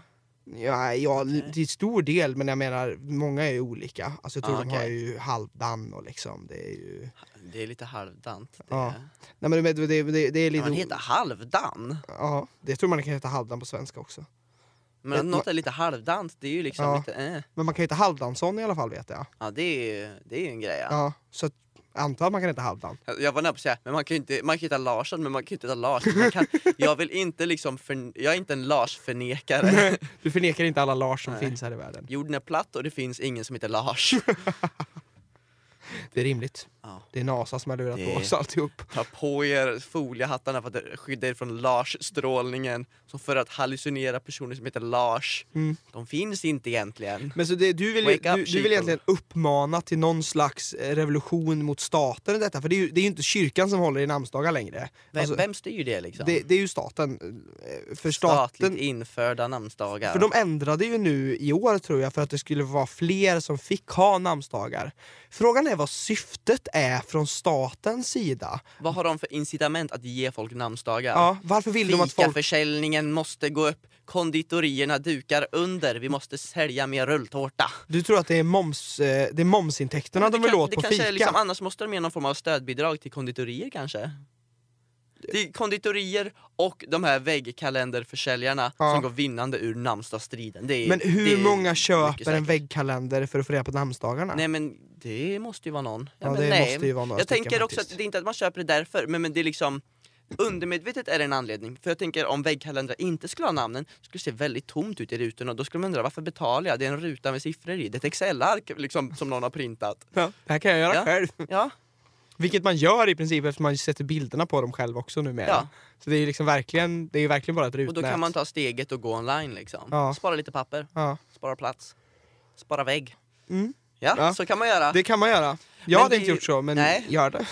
B: Ja, ja, till stor del, men jag menar, många är ju olika. Alltså jag tror
A: Ja,
B: de har
A: Ah, okej.
B: ju halvdan och liksom, det är ju...
A: Det är lite halvdant. Det.
B: Ja. Nej men det, det, det, det är
A: Kan
B: lite...
A: man heta halvdan?
B: Ja, det tror man kan heta halvdan på svenska också.
A: Men
B: Ett
A: att något är lite halvdant, det är ju liksom
B: Eh, Ja.
A: lite... Eh.
B: Men man kan heta halvdansson i alla fall vet jag.
A: Ja, det är ju det är ju en grej.
B: Ja.
A: Ja.
B: så att, jag antar att man kan heta halvdan.
A: Jag var nära på att säga, men man kan ju inte, man kan heta Larsson, men man kan ju inte heta Larsson. Man kan, jag vill inte liksom, förn- jag är inte en Lars-förnekare.
B: Du förnekar inte alla Lars som
A: Nej.
B: finns här i världen.
A: Jorden är platt och det finns ingen som heter Lars.
B: Det är rimligt.
A: Ja.
B: Det är NASA som har lurat
A: Det-
B: på oss alltihop.
A: Ta på er foliehattarna för att skydda er från Lars-strålningen. Som för att hallucinera personer som heter Lars.
B: Mm.
A: De finns inte egentligen.
B: Men så det, du, vill, ju-
A: Wake up,
B: du, du
A: sheeple.
B: vill egentligen uppmana till någon slags eh, revolution mot staten i detta? För det är ju, det är ju inte kyrkan som håller i namnsdagar längre.
A: Vem,
B: Alltså,
A: vem styr det liksom?
B: det, det är ju staten. eh, För
A: Statligt
B: staten
A: införda namnsdagar.
B: För de ändrade ju nu i år tror jag för att det skulle vara fler som fick ha namnsdagar. Frågan är vad syftet är från statens sida.
A: Vad har de för incitament att ge folk namnsdagar?
B: Ja, varför vill de att folk...
A: Fikaförsäljningen måste gå upp, konditorierna dukar under, vi måste sälja mer rulltårta.
B: Du tror att det är, moms, eh, det är momsintäkterna
A: Det
B: de vill
A: kan-
B: åt
A: det
B: på
A: kanske är
B: fika?
A: Liksom, annars måste de ge någon form av stödbidrag till konditorier kanske? Det är konditorier och de här väggkalenderförsäljarna
B: Ja.
A: som går vinnande ur namnsdagsstriden. Det är,
B: Men
A: det
B: hur
A: är
B: många
A: mycket
B: köper en
A: säkert.
B: väggkalender för att få reda på namnsdagarna?
A: Nej men det måste ju vara någon.
B: Ja,
A: men
B: det
A: nej.
B: måste ju vara några
A: Jag
B: stycken
A: tänker också
B: faktiskt.
A: att det är inte att man köper det därför, men, men det är liksom undermedvetet är det en anledning. För jag tänker om väggkalendrar inte skulle ha namnen, skulle det se väldigt tomt ut i rutorna. Då skulle man undra varför betalar jag? Det är en ruta med siffror i. Det är ett Excel-ark liksom, som någon har printat.
B: Ja, det här kan jag göra
A: Ja.
B: själv.
A: Ja,
B: Vilket man gör i princip eftersom man sätter bilderna på dem själv också numera.
A: Ja.
B: Så det är ju liksom verkligen, det är ju verkligen bara ett rutnät.
A: och då kan man ta steget och gå online liksom.
B: Ja.
A: Spara lite papper,
B: ja.
A: spara plats, spara vägg.
B: Mm.
A: Ja,
B: Ja.
A: så kan man göra.
B: Det kan man göra. Jag
A: Men
B: hade
A: det-
B: inte gjort så, men
A: nej.
B: gör det.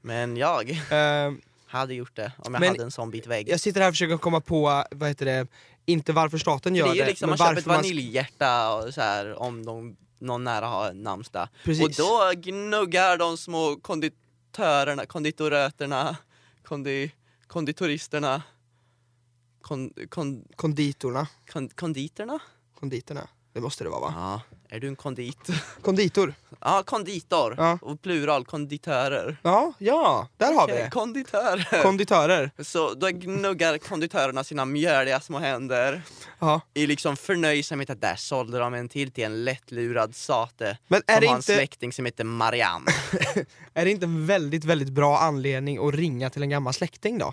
A: Men jag
B: Ehm,
A: hade gjort det om jag
B: Men-
A: hade en sån bit vägg.
B: jag sitter här och försöker komma på, vad heter det, inte varför staten
A: För
B: gör
A: det är
B: det,
A: ju liksom,
B: men
A: man köper ett
B: varför man...
A: vaniljhjärta och så här, om de, någon nära har en namnsdag.
B: Precis.
A: Och då gnuggar de små konditörerna, konditoröterna, kondi, konditoristerna, kon, kon,
B: Konditorna.
A: kon, konditerna?
B: Konditorna. Det måste det vara va?
A: Ja. Är du en kondit?
B: Konditor.
A: Ja, konditor.
B: Ja.
A: Och plural, konditörer.
B: Ja, ja, där har vi
A: Okej,
B: det.
A: Konditörer.
B: Konditörer.
A: Så då gnuggar konditörerna sina mjöliga små händer
B: Ja.
A: i liksom förnöjsamhet att där sålde de en till till en lättlurad sate.
B: Men är
A: som
B: det,
A: har en
B: inte,
A: släkting som heter Marianne.
B: är det inte en väldigt, väldigt bra anledning att ringa till en gammal släkting då?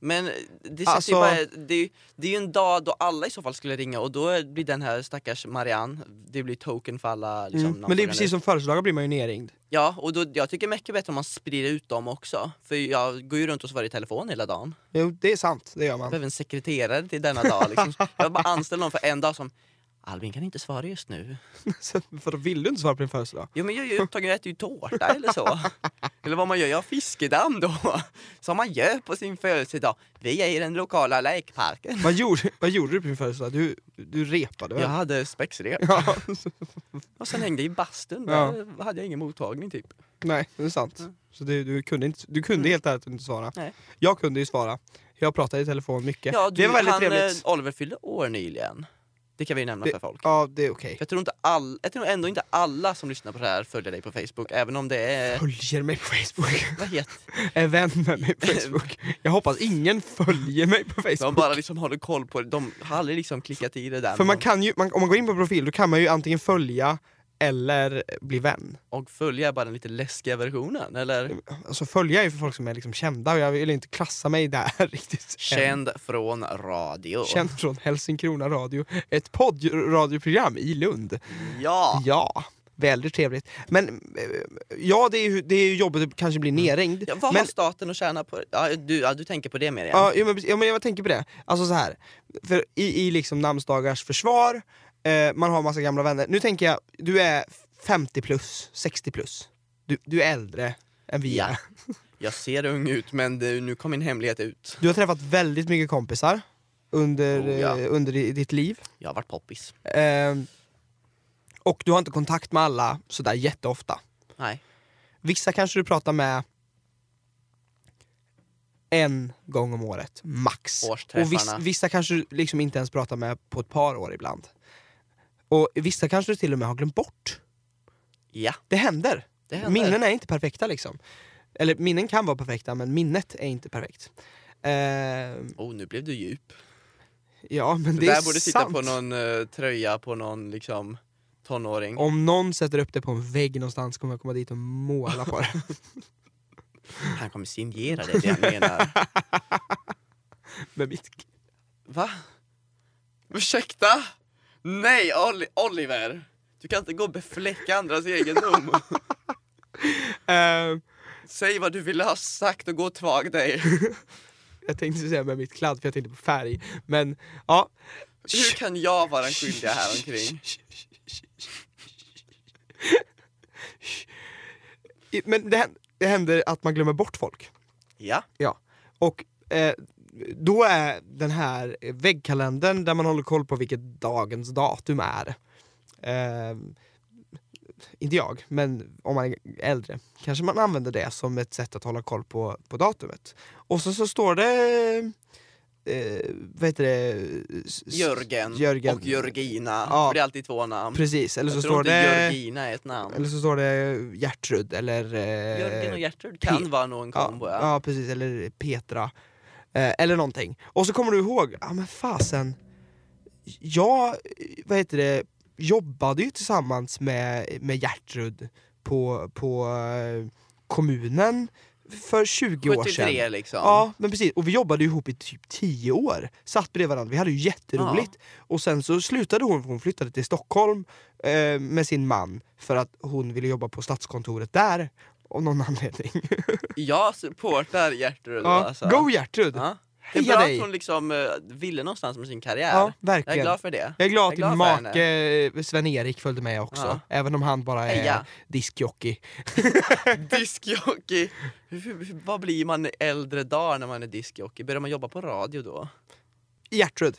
A: Men det,
B: Alltså-
A: alltså... bara, det, det är ju en dag då alla i så fall skulle ringa och då blir den här stackars Marianne, det blir token för alla liksom,
B: Mm. Men det är
A: namnsdagar nu.
B: precis som födelsedagar blir man ju nerringd.
A: Ja, och då, jag tycker mycket bättre om man sprider ut dem också. För jag går ju runt och svarar i telefon hela dagen.
B: Jo, det är sant, det gör
A: Jag
B: man.
A: behöver en sekreterare till denna dag liksom. Jag bara anställer någon för en dag som Albin kan inte svara just nu.
B: Så- För då vill du inte svara på din födelsedag?
A: Jo men jag är ju upptagen, jag äter ju tårta eller så. Eller vad man gör, jag har fiskedamm då. Som man gör på sin födelsedag. Vi är i den lokala lekparken.
B: Vad gjorde, vad gjorde du på din födelsedag? Du, du repade väl?
A: Jag hade spexrep.
B: Ja,
A: Och sen hängde jag i bastun,
B: Ja.
A: där hade jag ingen mottagning typ.
B: Nej, det är sant. Så du, du kunde, inte, du kunde helt ärligt inte svara.
A: Mm. Nej.
B: Jag kunde ju svara. Jag pratade i telefon mycket.
A: Ja, du,
B: det var väldigt
A: han,
B: trevligt.
A: eh, Oliver fyllde år nyligen. Det kan vi ju nämna
B: Det-
A: för folk.
B: Ja, det är okej.
A: För jag, tror inte all, jag tror ändå inte alla som lyssnar på det här följer dig på Facebook, även om det är...
B: Följer mig på Facebook.
A: Vad heter
B: Är vän med mig på Facebook. Jag hoppas ingen följer mig på
A: De
B: Facebook.
A: bara liksom håller koll på det, de har aldrig liksom klickat i det där.
B: För
A: med
B: man
A: någon.
B: kan ju, man, om man går in på profil, då kan man ju antingen följa eller bli vän.
A: Och följa bara den lite läskiga versionen, eller?
B: Alltså följa är ju för folk som är liksom kända och jag vill inte klassa mig där riktigt. än.
A: Känd från radio.
B: Känd från Helsingkrona radio. Ett poddradioprogram i Lund.
A: Ja!
B: Ja, väldigt trevligt. Men eh, ja, det är ju, det är ju jobbigt att kanske bli nerringd.
A: Mm. ja! Vad
B: men,
A: har staten att tjäna på det? Ja, du, ja, du tänker på det mer igen.
B: ja, jo, men, precis. ja, men jag tänker på det. Alltså så här, för i, i liksom namnsdagars försvar, eh, man har massa gamla vänner. Nu tänker jag, du är 50 plus, 60 plus. Du, du är äldre än vi
A: Ja.
B: är.
A: Jag ser ung ut men du, nu kom min hemlighet ut.
B: Du har träffat väldigt mycket kompisar under,
A: Oh, ja.
B: eh, under i- ditt liv.
A: Jag har varit poppis.
B: Ehm, och du har inte kontakt med alla sådär jätteofta.
A: Nej.
B: Vissa kanske du pratar med en gång om året, max.
A: Årsträffarna.
B: Och viss, vissa kanske du liksom inte ens pratar med på ett par år ibland. Och vissa kanske du till och med har glömt bort.
A: Ja,
B: Det händer.
A: det händer.
B: Minnen är inte perfekta liksom. Eller minnen kan vara perfekta, men minnet är inte perfekt. Ehm,
A: Oh, nu blev du djup.
B: ja, men det,
A: Det
B: är
A: där borde sitta
B: sant.
A: på någon eh, tröja på någon liksom tonåring.
B: Om någon sätter upp det på en vägg någonstans kommer jag komma dit och måla på det.
A: Han kommer signera det, det jag menar.
B: med mitt...
A: Va? Ursäkta? Nej, Oli- Oliver! Du kan inte gå och befläcka andras egendom.
B: Ehm,
A: Säg vad du ville ha sagt och gå och tvag dig.
B: Jag tänkte säga med mitt kladd för jag tänkte på färg. Men ja.
A: Hur kan jag vara den skyldiga här omkring?
B: I- Men det, hän- det händer att man glömmer bort folk.
A: Ja,
B: Och eh, då är den här väggkalendern där man håller koll på vilket dagens datum är. Eh, inte jag, men om man är äldre kanske man använder det som ett sätt att hålla koll på, på datumet. Och så, så står det eh, vad heter det? S- s-
A: Jörgen,
B: Jörgen.
A: och Jörgina.
B: Ja.
A: För det är alltid två namn.
B: Precis, eller
A: Jag
B: så,
A: tror
B: står
A: inte
B: det,
A: Jörgina är ett namn.
B: eller så står det Gertrud eller... eh,
A: Jörgen och Gertrud kan
B: Pe-
A: vara någon
B: ja,
A: kombo, ja.
B: ja, precis, eller Petra. Eh, eller någonting. Och så kommer du ihåg, ja ah, men fasen. Jag, eh, vad heter det, jobbade ju tillsammans med, med Gertrud på, på eh, kommunen för 20 år sedan.
A: 73 liksom.
B: Ja, men precis. Och vi jobbade ju ihop i typ 10 år. Satt bredvid varandra, vi hade ju jätteroligt. Och sen så slutade hon, för hon flyttade till Stockholm eh, med sin man för att hon ville jobba på Stadskontoret där. Av någon anledning.
A: Jag supportar Gertrud.
B: Ja.
A: Alltså.
B: Go Gertrud!
A: Ja. Det är
B: Heja
A: bra
B: dig!
A: att hon liksom eh, ville någonstans med sin karriär.
B: Ja,
A: Jag
B: verkligen.
A: är glad för det.
B: Jag är glad
A: jag
B: att
A: är glad
B: din
A: för
B: make eh, Sven-Erik följde med också.
A: Ja.
B: Även om han bara är
A: Heja.
B: diskjockey.
A: Diskjockey! Hur- hur- Vad blir man i äldre dagar när man är diskjockey? Börjar man jobba på radio då?
B: Gertrud.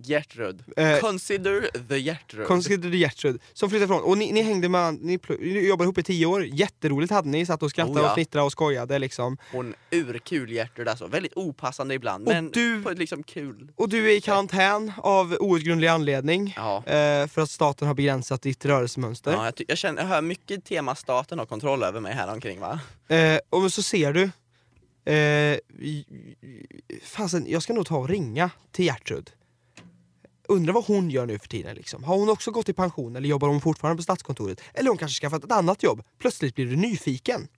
A: Gertrud.
B: Eh,
A: Consider the Gertrud.
B: Konstgrädde Gertrud som flyttade från. Och ni, ni hängde med an- ni, pl- ni jobbade ihop i 10 år. Jätteroligt hade ni. Satt och skrattade
A: Oh ja.
B: och fnittrade och skojade liksom.
A: Hon urkul Gertrud alltså. Väldigt opassande ibland
B: Och
A: men
B: du-
A: på ett liksom kul.
B: Och du är i karantän av outgrundlig anledning.
A: Ja.
B: Eh, för att staten har begränsat ditt rörelsemönster.
A: Ja, jag, ty- jag, känner, jag hör mycket tema staten har kontroll över mig här omkring va?
B: Eh, och så ser du... Eh, i- i- fasen, jag ska nog ta och ringa till Gertrud. Undrar vad hon gör nu för tiden. Liksom. Har hon också gått i pension eller jobbar hon fortfarande på Stadskontoret? Eller hon kanske skaffat ett annat jobb? Plötsligt blir du nyfiken.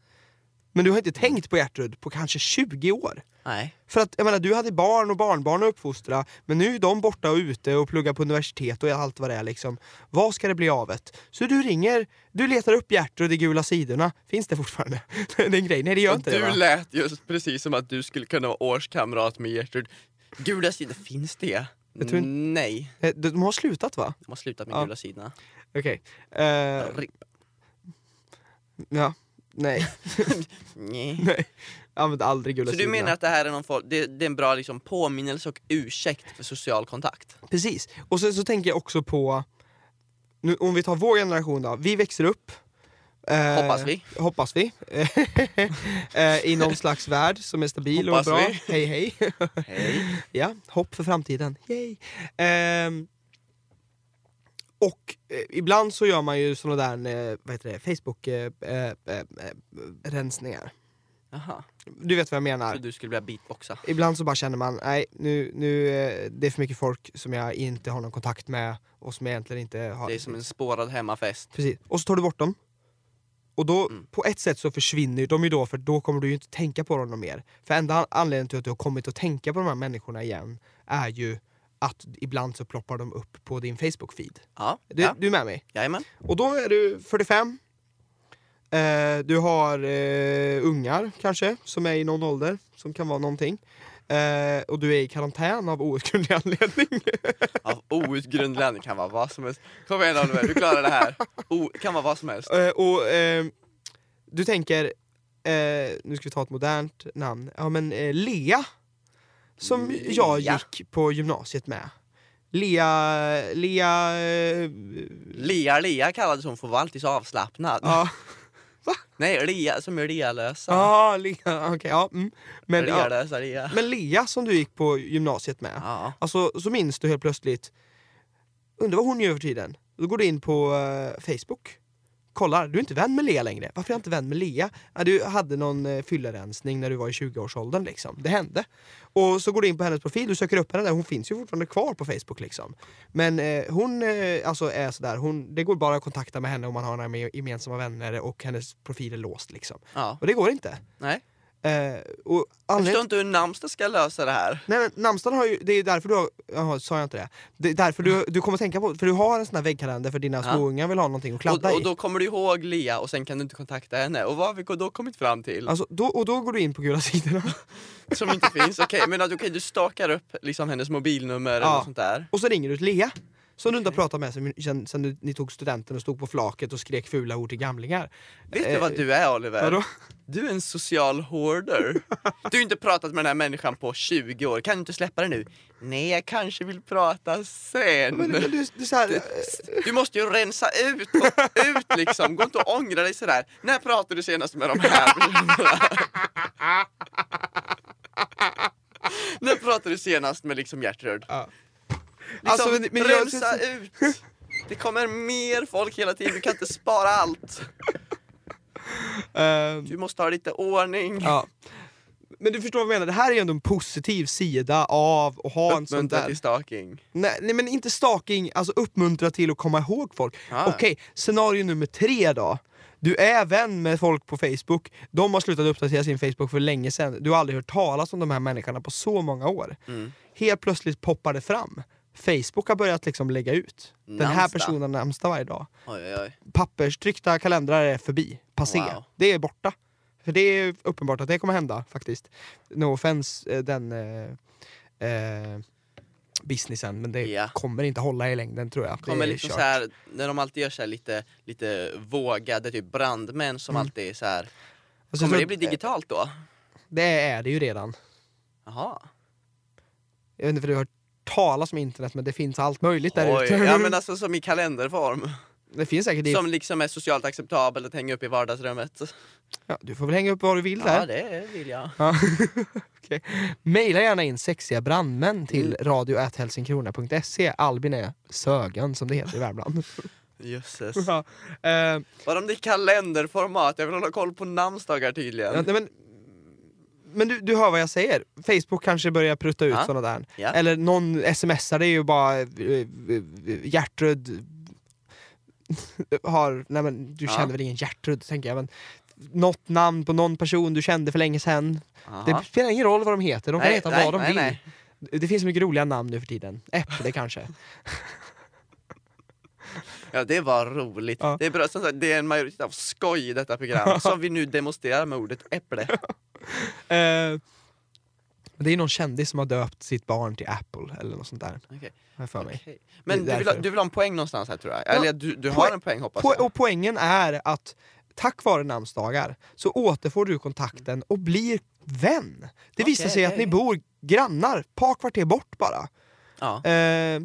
B: Men du har inte tänkt på Gertrud på kanske 20 år.
A: Nej.
B: För att jag menar, du hade barn och barnbarn att uppfostra, men nu är de borta och ute och pluggar på universitet och allt vad det är liksom. Vad ska det bli av ett? Så du ringer, du letar upp Gertrud i Gula sidorna. Finns det fortfarande? det är en grej. Nej det gör
A: Och
B: inte
A: du
B: det va?
A: lät just precis som att du skulle kunna vara årskamrat med Gertrud. Gula sidan, finns det?
B: Jag tror
A: Nej,
B: Eh, De de har slutat va?
A: de har slutat med
B: Ja.
A: gula sidorna.
B: Okej. Eh,
A: Rip.
B: ja. Nej.
A: Nej.
B: Nej. Använd aldrig Gula
A: Så du
B: sidorna.
A: menar att det här är någon form, det, det är en bra liksom påminnelse och ursäkt för social kontakt?
B: Precis. Och sen så tänker jag också på, nu, om vi tar vår generation då, vi växer upp. eh,
A: Hoppas vi.
B: Hoppas vi. Eh, I någon slags värld som är stabil
A: Hoppas
B: och bra.
A: vi.
B: Hej hej.
A: Hej.
B: ja, hopp för framtiden. Yay. Ehm, och eh, ibland så gör man ju sådana där eh, vad heter det, eh, Facebook-rensningar.
A: Jaha,
B: du vet vad jag
A: så
B: menar.
A: du skulle vilja beatboxa?
B: Ibland så bara känner man, nej nu, nu eh, det är för mycket folk som jag inte har någon kontakt med och som jag egentligen inte har...
A: Det är som en spårad hemmafest.
B: Precis. Och så tar du bort dem. Och då,
A: Mm.
B: på ett sätt så försvinner de ju då för då kommer du ju inte tänka på dem mer. För enda anledningen till att du har kommit att tänka på de här människorna igen är ju att ibland så ploppar de upp på din Facebook-feed.
A: Ja,
B: Du,
A: ja.
B: du är med mig?
A: jajamän.
B: Och då är du 45. Eh, du har eh, ungar kanske, som är i någon ålder, som kan vara någonting. Eh, och du är i karantän av outgrundlig anledning.
A: Av outgrundlig anledning kan vara vad som helst. Kom igen Oliver, du klarar det här. O- kan vara vad som helst.
B: Eh, och eh, du tänker, eh, nu ska vi ta ett modernt namn, ja men eh, Lea. Som jag
A: Lea.
B: gick på gymnasiet med. Lea, Lea, eh,
A: Lea, Lea kallades hon för hon var alltid så avslappnad.
B: ja,
A: Nej, Lea som är Lealösa.
B: ja, Lea, okej, ja. Mm. Men, ja.
A: Lealösa Lea.
B: men Lea som du gick på gymnasiet med.
A: Ja.
B: Alltså så minns du helt plötsligt, undrar vad hon gör för tiden? Då går du in på eh, Facebook, kollar, du är inte vän med Lea längre. Varför är jag inte vän med Lea? Ja, du hade någon uh, fyllerensning när du var i 20-årsåldern liksom. Det hände. Och så går du in på hennes profil, du söker upp henne där, hon finns ju fortfarande kvar på Facebook liksom. Men eh, hon eh, alltså är sådär, hon, det går bara att kontakta med henne om man har några mer gemensamma vänner och hennes profil är låst liksom.
A: ja.
B: Och det går inte.
A: Nej.
B: Eh, och
A: Jag
B: anledningen-
A: förstår inte hur namnsdag ska lösa det här.
B: Nej men namnsdagen har ju, det är ju därför du har, jaha, sa jag inte det? Det är därför du, du kommer tänka på, för du har en sån här väggkalender för dina
A: Mm. Ja.
B: småungar vill ha någonting att kladda
A: Och, och
B: i.
A: då kommer du ihåg Lea och sen kan du inte kontakta henne. Och vad har vi då kommit fram till?
B: Alltså, då, och då går du in på gula sidorna.
A: Som inte finns. Okej, men att- okej, du stakar upp liksom hennes mobilnummer eller
B: Ja.
A: något sånt där.
B: Och så ringer du till Lea. Som du inte har pratat med sen, sen, sen du, ni tog studenten och stod på flaket och skrek fula ord till gamlingar.
A: Vet du
B: Eh,
A: vad du är Oliver?
B: Vadå?
A: Du är en social hoarder. Du har inte pratat med den här människan på 20 år. Kan du inte släppa det nu? Nej, jag kanske vill prata sen.
B: Men, men du, du, så här, eh,
A: Du måste ju rensa ut, och ut liksom. Gå inte och ångra dig sådär. När pratade du senast med de här personerna? När pratade du senast med liksom Gertrud.
B: Ja.
A: Liksom,
B: Alltså, men- men jag-
A: rusa ut! Det kommer mer folk hela tiden, du kan inte spara allt.
B: Ehm,
A: Du måste ha lite ordning.
B: ja. Men du förstår vad jag menar, det här är ju ändå en positiv sida av att ha en sån
A: Uppmuntra
B: där...
A: till stalking.
B: Nej, nej men inte stalking, alltså uppmuntra till att komma ihåg folk.
A: Ah.
B: Okej, scenario nummer tre då. Du är vän med folk på Facebook, de har slutat uppdatera sin Facebook för länge sedan, du har aldrig hört talas om de här människorna på så många år.
A: Mm.
B: Helt plötsligt poppar det fram. Facebook har börjat liksom lägga ut. Den här
A: Namnsdag.
B: personen har namnsdag varje dag.
A: Oj, oj, oj.
B: Papperstryckta kalendrar är förbi, passé.
A: Wow.
B: Det är borta. För det är uppenbart att det kommer hända faktiskt. No offense, eh, den eh, eh, businessen, men det
A: Ja.
B: kommer inte hålla i längden tror jag.
A: Kommer
B: det är
A: liksom
B: kört.
A: så här, när de alltid gör så här lite, lite vågade typ brandmän som alltid är så här.
B: Mm. Alltså, jag
A: Kommer
B: tror
A: det bli
B: att- eh,
A: digitalt då?
B: Det är det ju redan.
A: Jaha.
B: Jag vet inte för du har hört talas om internet men det finns allt möjligt där
A: Oj.
B: ute.
A: Ja men alltså som i kalenderform.
B: det finns säkert i...
A: Som liksom är socialt acceptabelt att hänga upp i vardagsrummet.
B: Ja, du får väl hänga upp vad du vill
A: Ja
B: där.
A: det vill jag.
B: Ja. Okej. Mejla gärna in sexiga
A: Mm.
B: brandmän till radio.helsingkrona.se. Albin är sögen som det heter i Värmland.
A: Jösses.
B: ja. eh,
A: Vad om det är kalenderformat? Jag vill hålla koll på namnsdagar tydligen.
B: ja, nej, men men du, du hör vad jag säger. Facebook kanske börjar prutta ut
A: Ja.
B: sådana där.
A: Ja.
B: Eller någon smsar det är ju bara eh, eh, Gertrud har, nej men du
A: Ja.
B: kände väl ingen Gertrud tänker jag men något namn på någon person du kände för länge sedan.
A: Jaha.
B: Det spelar ingen roll vad de heter, de kan
A: Nej,
B: heta
A: nej,
B: vad de
A: nej,
B: vill.
A: nej.
B: Det finns så mycket roliga namn nu för tiden. Äpple kanske.
A: Ja det var roligt.
B: Ja.
A: Det, är bra, som sagt, det är en majoritet av skoj i detta program som vi nu demonstrerar med ordet äpple.
B: Eh, men det är någon kändis som har döpt sitt barn till Apple eller något sånt där.
A: Okej,
B: Har jag för mig.
A: okej.
B: Det
A: Men
B: är
A: du vill, ha,
B: därför.
A: du vill ha en poäng någonstans här tror jag.
B: Ja,
A: Eller du, du har
B: poäng-
A: en poäng hoppas
B: Po-
A: jag.
B: och poängen är att tack vare namnsdagar så återfår du kontakten och blir vän. Det visar
A: Okej,
B: sig att ni
A: okej.
B: bor grannar, ett par kvarter bort bara.
A: Ja.
B: Eh,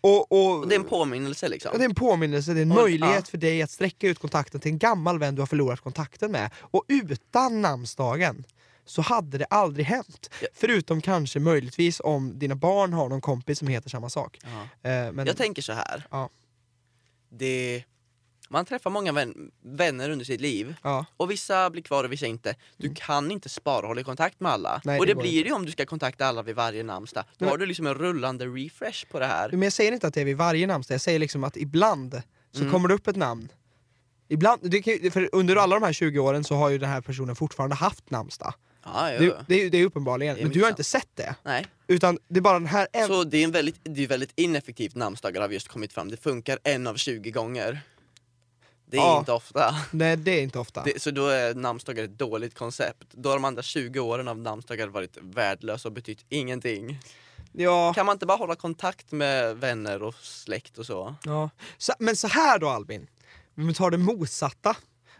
B: och, och,
A: Och det är en påminnelse liksom.
B: och det är en påminnelse, det är en
A: Och en-
B: möjlighet
A: ja.
B: för dig att sträcka ut kontakten till en gammal vän du har förlorat kontakten med. Och utan namnsdagen så hade det aldrig hänt.
A: Ja.
B: Förutom kanske möjligtvis om dina barn har någon kompis som heter samma sak.
A: Ja.
B: Eh, men,
A: Jag tänker så här.
B: Ja.
A: Det, man träffar många vän, vänner under sitt liv.
B: ja.
A: Och vissa blir kvar och vissa inte. Du kan inte spara och hålla i kontakt med alla.
B: Mm. Nej,
A: och
B: det
A: det,
B: går
A: blir ju om du ska kontakta alla vid varje namnsdag. Då
B: Nej.
A: har du liksom en rullande refresh på det här.
B: Men jag säger inte att det är vid varje namnsdag, jag säger liksom att ibland så
A: Mm.
B: kommer det upp ett namn. Ibland, det kan, ju- för under alla de här 20 åren så har ju den här personen fortfarande haft namnsdag.
A: Ja, ja,
B: Det,
A: ja.
B: det, är ju- det är uppenbarligen,
A: Det är
B: men du har
A: mycket
B: inte sett det.
A: Nej.
B: Utan det är bara den här en...
A: Så det är, en väldigt, det är väldigt ineffektivt namnsdagar har vi just kommit fram. Det funkar en av 20 gånger. Det är
B: Ja.
A: inte ofta.
B: Nej det är inte ofta.
A: Det, så då är namnsdagar ett dåligt koncept. Då har de andra 20 åren av namnsdagar varit värdelösa och betytt ingenting.
B: Ja.
A: Kan man inte bara hålla kontakt med vänner och släkt och så?
B: Ja. Så, men så här då Albin, vi tar det motsatta.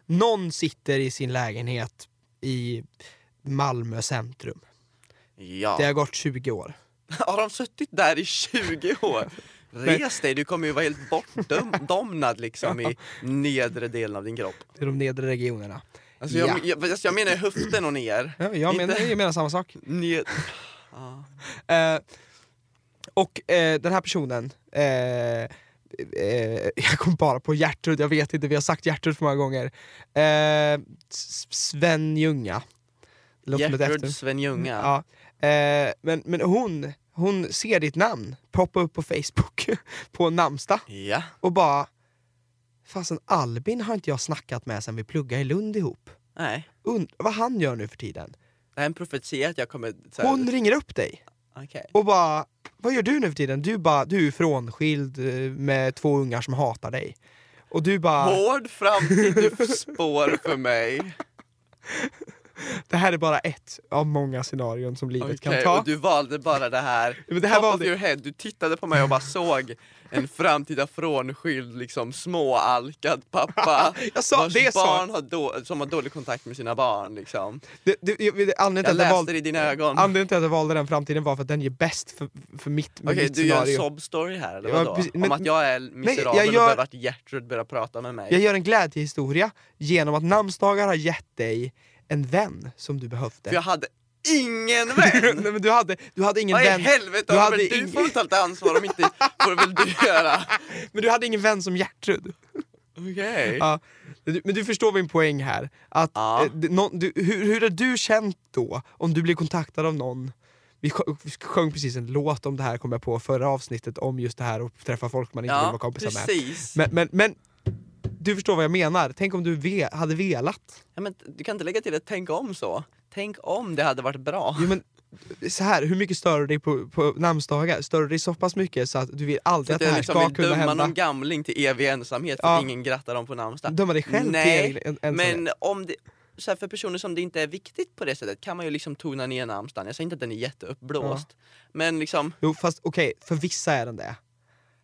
B: Någon sitter i sin lägenhet i Malmö centrum.
A: Ja.
B: Det har gått 20 år.
A: Har de suttit där i 20 år? Res dig, du kommer ju vara helt bortdomnad liksom i nedre delen av din kropp.
B: Det är de nedre regionerna.
A: Alltså jag,
B: Ja.
A: jag, alltså jag menar ju höften och ner.
B: Ja, jag,
A: Inte-
B: menar, jag menar samma sak.
A: Ned. Ja.
B: Eh, och eh, den här personen, eh, eh, jag kom bara på Gertrud, jag vet inte, vi har sagt Gertrud för många gånger. Eh, S- Svenljunga. Det låter som ett efter-
A: Gertrud Svenljunga.
B: Ja. Eh, men, men hon, hon ser ditt namn poppa upp på Facebook på namnsdag
A: Ja.
B: och bara Fasen Albin har inte jag snackat med sen vi pluggade i Lund ihop.
A: Nej.
B: Und- vad han gör nu för tiden.
A: Det här är en profetia att jag kommer... Så här,
B: Hon ringer upp dig
A: Okej.
B: och bara Vad gör du nu för tiden? Du, bara, du är frånskild eh, med två ungar som hatar dig. Och du bara,
A: Hård framtid du spår för mig.
B: det här är bara ett av många scenarion som livet kan
A: Okej,
B: ta.
A: Och du valde bara det här.
B: Men det här
A: Top
B: var
A: of
B: det-
A: your head. Du tittade på mig och bara såg en framtida frånskild, liksom småalkad pappa.
B: Jag sa-
A: vars
B: det sa-
A: barn har då, som har dålig kontakt med sina barn. Liksom.
B: Det, det, jag, det, anledningen till
A: Jag
B: att jag
A: läste
B: valde-
A: det i dina ögon.
B: Anledningen till att jag valde den framtiden var för att den ger bäst för, för mitt,
A: Okej,
B: mitt
A: du gör en
B: scenario.
A: sob story här eller
B: Ja,
A: vadå?
B: precis, men-
A: Om att jag är miserabel
B: jag gör-
A: och behöver att Gertrud börjar prata med mig.
B: Jag gör en glädjehistoria genom att namnsdagar har gett dig en vän som du behövde.
A: För jag hade ingen vän!
B: Nej, men du, hade, du hade ingen
A: Vad i
B: vän.
A: helvete
B: du
A: Oliver,
B: hade
A: du
B: ing-
A: får väl ta lite ansvar om inte får väl du göra.
B: Men du hade ingen vän som Gertrud.
A: Okej.
B: Ja. Du- Men du förstår min poäng här. Att,
A: Ja.
B: eh, det- någon- du, hur, hur har du känt då om du blir kontaktad av någon? Vi sjö- vi sjöng precis en låt om det här kom jag på förra avsnittet om just det här att träffa folk man inte vill vara
A: Ja,
B: kompisar med.
A: precis.
B: Men, men, men du förstår vad jag menar. Tänk om du ve- hade velat.
A: Ja, men du kan inte lägga till ett tänk om så. Tänk om det hade varit bra.
B: Jo, men, så här, hur mycket stör du dig på, på namnsdagar? Stör du dig så pass mycket så att du vill aldrig att
A: Att
B: det här
A: jag liksom
B: ska
A: vill
B: kunna
A: döma
B: hända?
A: någon gamling till evig ensamhet för
B: Ja.
A: att ingen grattar dem på namnsdag.
B: Döma dig själv
A: Nej,
B: till en, en
A: Men om det, så här, för personer som det inte är viktigt på det sättet kan man ju liksom tona ner namnsdagen. Jag säger inte att den är jätteuppblåst. Men liksom,
B: Jo fast okej, för vissa är den det.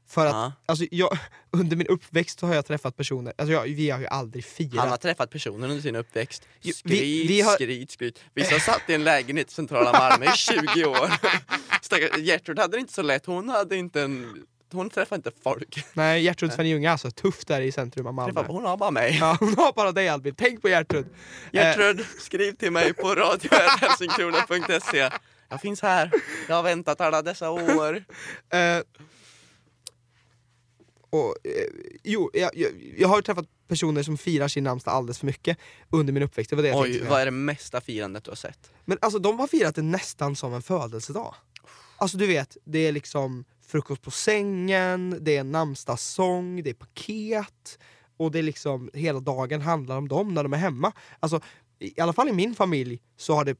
B: För att,
A: ja,
B: alltså, jag, under min uppväxt så har jag träffat personer, alltså jag, vi har ju aldrig firat.
A: han har träffat personer under sin uppväxt.
B: Jo,
A: Skryt,
B: vi- vi har-
A: skryt, skryt. Vissa satt i en lägenhet i centrala Malmö i 20 år. Stackars- Gertrud hade det inte så lätt. Hon hade inte en... Hon träffade inte folk.
B: Nej Gertrud Svenljunga alltså, tufft där i centrum av Malmö.
A: Träffade, hon har bara mig.
B: Ja, hon har bara dig Albin, tänk på Gertrud! Eh,
A: Gertrud, skriv till mig på radio.helsingkrona.se. Jag finns här. Jag har väntat alla dessa år.
B: eh, och, eh, jo, jag, jag, jag har ju träffat personer som firar sin namnsdag alldeles för mycket under min uppväxt. Det var det jag
A: Oj,
B: tänkte säga.
A: vad är det mesta firandet du har sett?
B: Men alltså de har firat det nästan som en födelsedag. Alltså du vet, det är liksom frukost på sängen, det är namnsdagssång, det är paket och det är liksom hela dagen handlar om dem när de är hemma. Alltså i alla fall i min familj så har det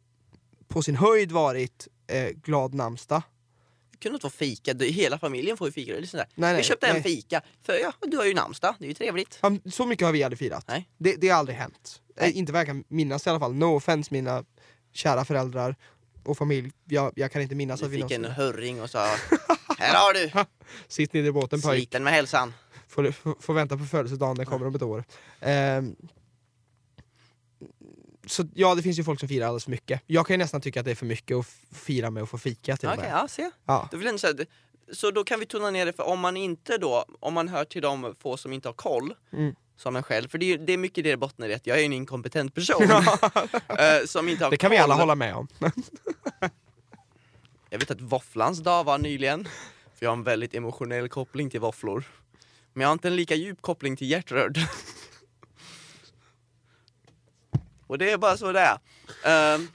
B: på sin höjd varit eh, glad namnsdag.
A: Det kunde inte vara fika, Du- hela familjen får ju fika. Det är sådär.
B: Nej, nej,
A: vi köpte
B: nej.
A: en fika, för ja, du har ju namnsdag, det är ju trevligt.
B: Ja, men Så mycket har vi aldrig firat.
A: Nej.
B: Det, det har aldrig hänt. Eh,
A: Nej.
B: Inte vad jag kan minnas i alla fall. No offense mina kära föräldrar och familj. Jag, jag kan inte minnas
A: Du
B: att Alltså, vi
A: fick en
B: någonsin...
A: hörring och sa Här har du!
B: Sitt ner i båten pojk.
A: Sliten med hälsan.
B: får, får- får vänta på födelsedagen, den kommer om ett år. Ehm, så ja, det finns ju folk som firar alldeles för mycket. Jag kan ju nästan tycka att det är för mycket att f- fira med och få fika till
A: Okej,
B: och med.
A: ja, se.
B: Ja.
A: Då vill jag ändå säga, att- så då kan vi tona ner det, för om man inte då, om man hör till de få som inte har koll,
B: Mm.
A: som en själv, för det är, ju- det är mycket det det bottnar i, att jag är en inkompetent person. eh, som inte har
B: Det kan vi
A: koll.
B: alla hålla med om.
A: Jag vet att våfflans dag var nyligen, för jag har en väldigt emotionell koppling till våfflor. Men jag har inte en lika djup koppling till Gertrud. Och det är bara så det är. Ehm,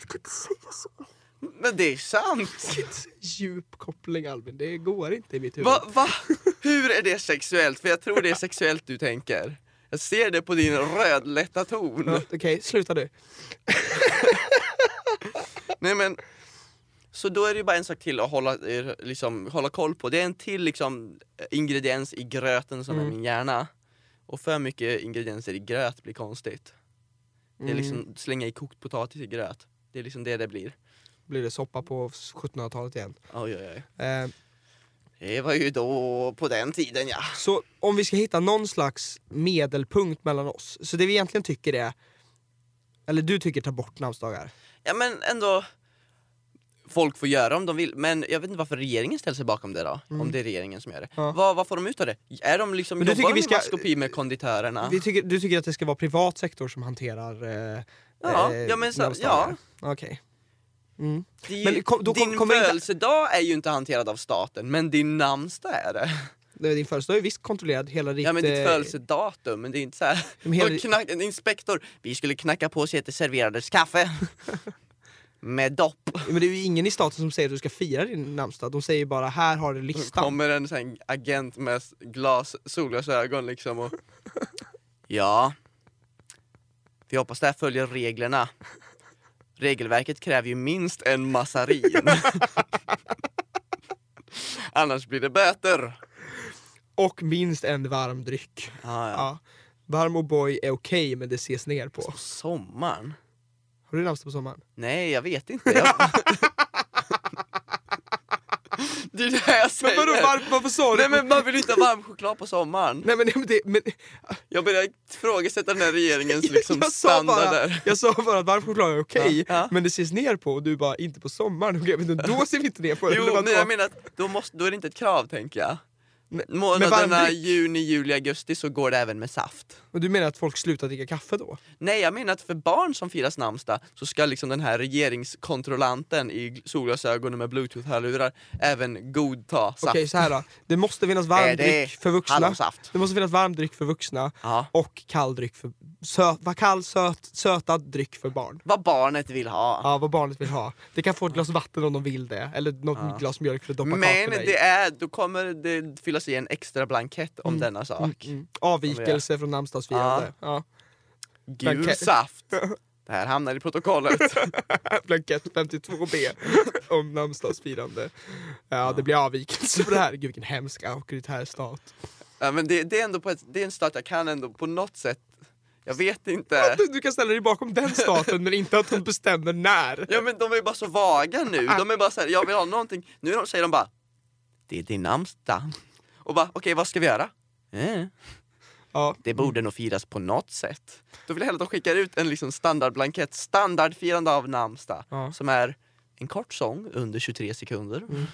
A: men det är sant!
B: Djup koppling Albin, det går inte i mitt huvud.
A: Va, va? Hur är det sexuellt? För jag tror det är sexuellt du tänker. Jag ser det på din rödlätta ton.
B: Ja, Okej, sluta nu.
A: Nej men, så då är det ju bara en sak till att hålla, eh, liksom, hålla koll på. Det är en till liksom, ingrediens i gröten som är
B: Mm.
A: min hjärna. Och för mycket ingredienser i gröt blir konstigt. Det är
B: Mm.
A: liksom slänga i kokt potatis i gröt. Det är liksom det det blir.
B: Blir det soppa på 1700-talet igen.
A: Oj, oj, oj.
B: Ehm,
A: Det var ju då på den tiden ja.
B: Så om vi ska hitta någon slags medelpunkt mellan oss, så det vi egentligen tycker är, eller du tycker ta bort namnsdagar.
A: Ja men ändå. Folk får göra om de vill, men jag vet inte varför regeringen ställer sig bakom det då.
B: Mm.
A: Om det är regeringen som gör det.
B: Ja.
A: Vad, vad får de ut av det? Är de liksom,
B: Men du
A: jobbar
B: tycker
A: de
B: vi
A: i
B: ska-
A: maskopi med konditörerna?
B: Vi tycker, du tycker att det ska vara privat sektor som hanterar eh,
A: Ja,
B: eh,
A: ja, men så-
B: namnsdagar? Okej. Mm.
A: Det är ju,
B: Men kom- då kom-
A: din
B: kommer det inte-
A: födelsedag är ju inte hanterad av staten, men din namnsdag är det.
B: Det- Din födelsedag är ju visst kontrollerad, hela ditt...
A: ja men ditt
B: eh,
A: födelsedatum, men det är inte så här.
B: men hela
A: Och
B: ditt-
A: knack, en inspektor, vi skulle knacka på så att det serverades kaffe. Med dopp.
B: men det är ju ingen i staten som säger att du ska fira din namnsdag, de säger ju bara här har du
A: Då
B: listan.
A: kommer en sån här agent med s- glas, solglasögon liksom och... Ja. Vi hoppas det här följer reglerna. Regelverket kräver ju minst en massarin. Annars blir det böter.
B: Och minst en varm dryck.
A: Ah, ja.
B: Ja. Varm O'boy är okej men det ses ner på.
A: På sommaren?
B: Har du namnsdag på sommaren?
A: Nej, jag vet inte. Jag... det är det här jag säger.
B: varför sa
A: Nej men man vill inte ha varm choklad på sommaren.
B: Nej men, nej, men, det, men
A: Jag börjar ifrågasätta den här regeringens liksom,
B: jag, sa bara,
A: standarder.
B: jag sa bara att varm choklad är okej,
A: Ja, ja.
B: men det ses ner på och du bara inte på sommaren. Okej, men då ser vi inte ner på det.
A: Jo,
B: eller vadå?
A: nej, jag menar att då, måste, då är det inte ett krav tänker jag. Månaderna
B: varmdryck?
A: juni, juli, augusti så går det även med saft.
B: Och du menar att folk slutar dricka kaffe då?
A: Nej, jag menar att för barn som firar namnsdag så ska liksom den här regeringskontrollanten i solglasögonen med bluetooth-hörlurar även godta saft.
B: Okej, så här då. Det måste finnas
A: Eh,
B: varm
A: det är
B: dryck för vuxna.
A: Hallonsaft.
B: Det måste finnas varm dryck för vuxna
A: Ja.
B: och kall dryck för... Söt, vad kall, söt, sötad dryck för barn.
A: Vad barnet vill ha.
B: Ja, vad barnet vill ha. Det kan få ett glas vatten om de vill det, eller något
A: Ja.
B: glas mjölk för att doppa
A: Men
B: kakorna i.
A: det är, då kommer det fyllas i en extra blankett om
B: Mm.
A: denna sak.
B: Mm, mm. Avvikelse från namnsdagsfirande. Ja.
A: Gul
B: Blankett.
A: saft. Det här hamnar i protokollet.
B: Blankett 52B om namnsdagsfirande. Ja, det blir avvikelse på det här. Gud, vilken hemsk auktoritär stat.
A: ja, men det, det är ändå på ett, det är en stat jag kan ändå på något sätt. Jag vet inte.
B: Du, du kan ställa dig bakom den staten, men inte att de bestämmer när.
A: Ja men de är bara så vaga nu. De är bara så här, jag vill ha någonting. Nu är de- säger de bara, det är din namnsdag. Och bara, okej vad ska vi göra? Eh,
B: Ja.
A: det borde nog firas på något sätt. Då vill jag hellre att de skickar ut en liksom standardblankett, standardfirande av namnsdag.
B: Ja.
A: Som är en kort sång under 23 sekunder.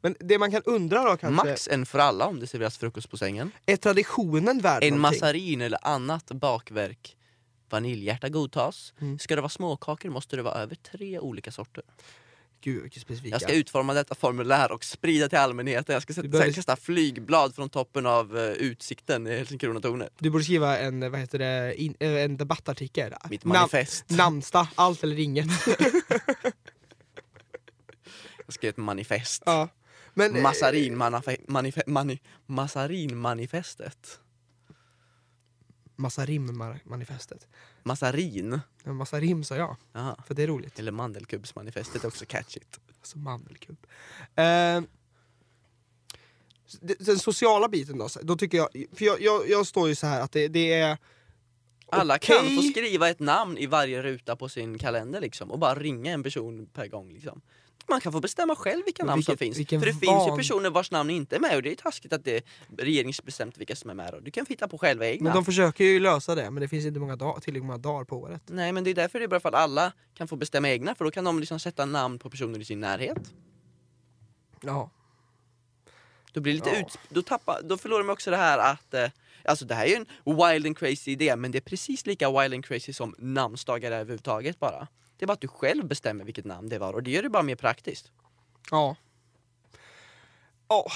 B: Men det man kan undra då kanske,
A: Max en för alla om det serveras frukost på sängen.
B: är traditionen värd
A: En
B: någonting?
A: massarin eller annat bakverk. Vaniljhjärta godtas.
B: Mm.
A: Ska det vara småkakor måste det vara över tre olika sorter.
B: Gud, vilken specifika.
A: Jag ska utforma detta formulär och sprida till allmänheten. Jag ska
B: Du
A: sätta,
B: behöver-
A: sen kasta flygblad från toppen av eh, utsikten i Helsingkronatornet.
B: Du borde skriva en, vad heter det, in, eh, en debattartikel.
A: Mitt
B: Nam-
A: manifest.
B: namnsdag, allt eller inget.
A: Jag skrev ett manifest.
B: ja. Men, eh,
A: Massarinmanife- manife- mani- Massarinmanifestet.
B: Massa rim-manifestet.
A: Massarin.
B: Massa rim sa jag,
A: Jaha.
B: för det är roligt.
A: Eller mandelkubbsmanifestet är också catchigt.
B: Alltså mandelkubb. Eh, s- d- den sociala biten då, så- då tycker jag, för jag, jag, jag står ju så här att det, det är...
A: Alla kan
B: Okej.
A: få skriva ett namn i varje ruta på sin kalender liksom och bara ringa en person per gång liksom. Man kan få bestämma själv vilka
B: Men
A: namn som
B: vilken-
A: finns.
B: vilken
A: För det finns ju
B: van-
A: personer vars namn inte är med och det är taskigt att det är regeringsbestämt vilka som är med och du kan få hitta på själva egna.
B: Men de försöker ju lösa det, men det finns inte många dag, tillräckligt många dagar på året.
A: Nej men det är därför det är bra för att alla kan få bestämma egna för då kan de liksom sätta namn på personer i sin närhet.
B: Ja.
A: Då blir det lite
B: Ja.
A: ut, då, tappar, då förlorar man också det här att, eh, alltså det här är ju en wild and crazy idé men det är precis lika wild and crazy som namnsdagar är överhuvudtaget bara. Det är bara att du själv bestämmer vilket namn det var och det gör det bara mer praktiskt.
B: Ja. Ja,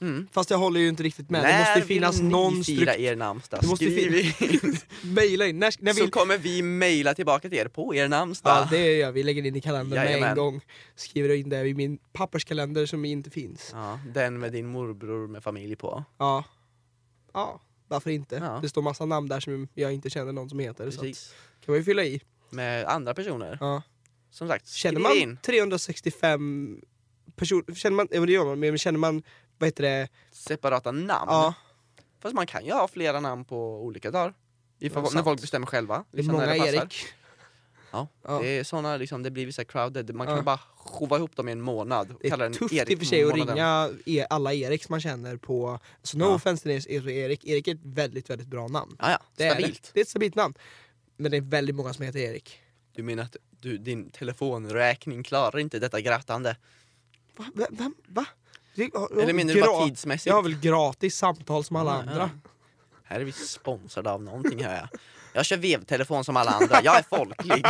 A: Mm.
B: fast jag håller ju inte riktigt med. det måste ju
A: vill
B: finnas
A: ni
B: någon
A: fira
B: struktur.
A: er namnsdag?
B: Det måste ju
A: Skriv in.
B: Mejla in. När, när
A: Så
B: vill...
A: kommer vi mejla tillbaka till er på er namnsdag.
B: Ja, det gör vi. lägger in i kalendern med en
A: Jajamän.
B: gång. Skriver in det i min papperskalender som inte finns.
A: Ja, den med din morbror med familj på.
B: Ja. Ja, varför inte?
A: Ja.
B: Det står massa namn där som jag inte känner någon som heter. Så att,
A: Precis.
B: kan man ju fylla i.
A: Med andra personer.
B: Ja.
A: Som sagt,
B: Känner
A: skriv
B: man
A: in.
B: 365 personer, känner man, ja, men det gör man, men känner man, vad heter det,
A: Separata namn.
B: ja,
A: Fast man kan ju ha flera namn på olika dagar.
B: Ja,
A: Ifall,
B: sant.
A: när folk bestämmer själva.
B: det är
A: liksom när
B: många
A: passar.
B: Erik.
A: Ja,
B: Ja.
A: Det är såna, liksom, det blir vissa crowded. Man kan
B: Ja.
A: bara shova ihop dem i en månad. Och
B: Det
A: kalla
B: är
A: den
B: tufft i och för sig att
A: Erik-månaden.
B: ringa e- alla Eriks man känner på, så no
A: Ja.
B: offense till er- er- Erik, Erik är ett väldigt, väldigt bra namn.
A: Ja, ja.
B: Det är,
A: Stabilt.
B: det. det är ett stabilt namn. Men det är väldigt många som heter Erik.
A: Du menar att du, din telefonräkning klarar inte detta grattande?
B: Va? Va? Vem? Va? Det- ja, ja,
A: Eller menar du bara
B: gra-
A: tidsmässigt?
B: Jag har väl gratis samtal som alla
A: Ja, ja.
B: andra.
A: Här är vi sponsrade av någonting hör jag. Jag kör vevtelefon som alla andra, jag är folklig.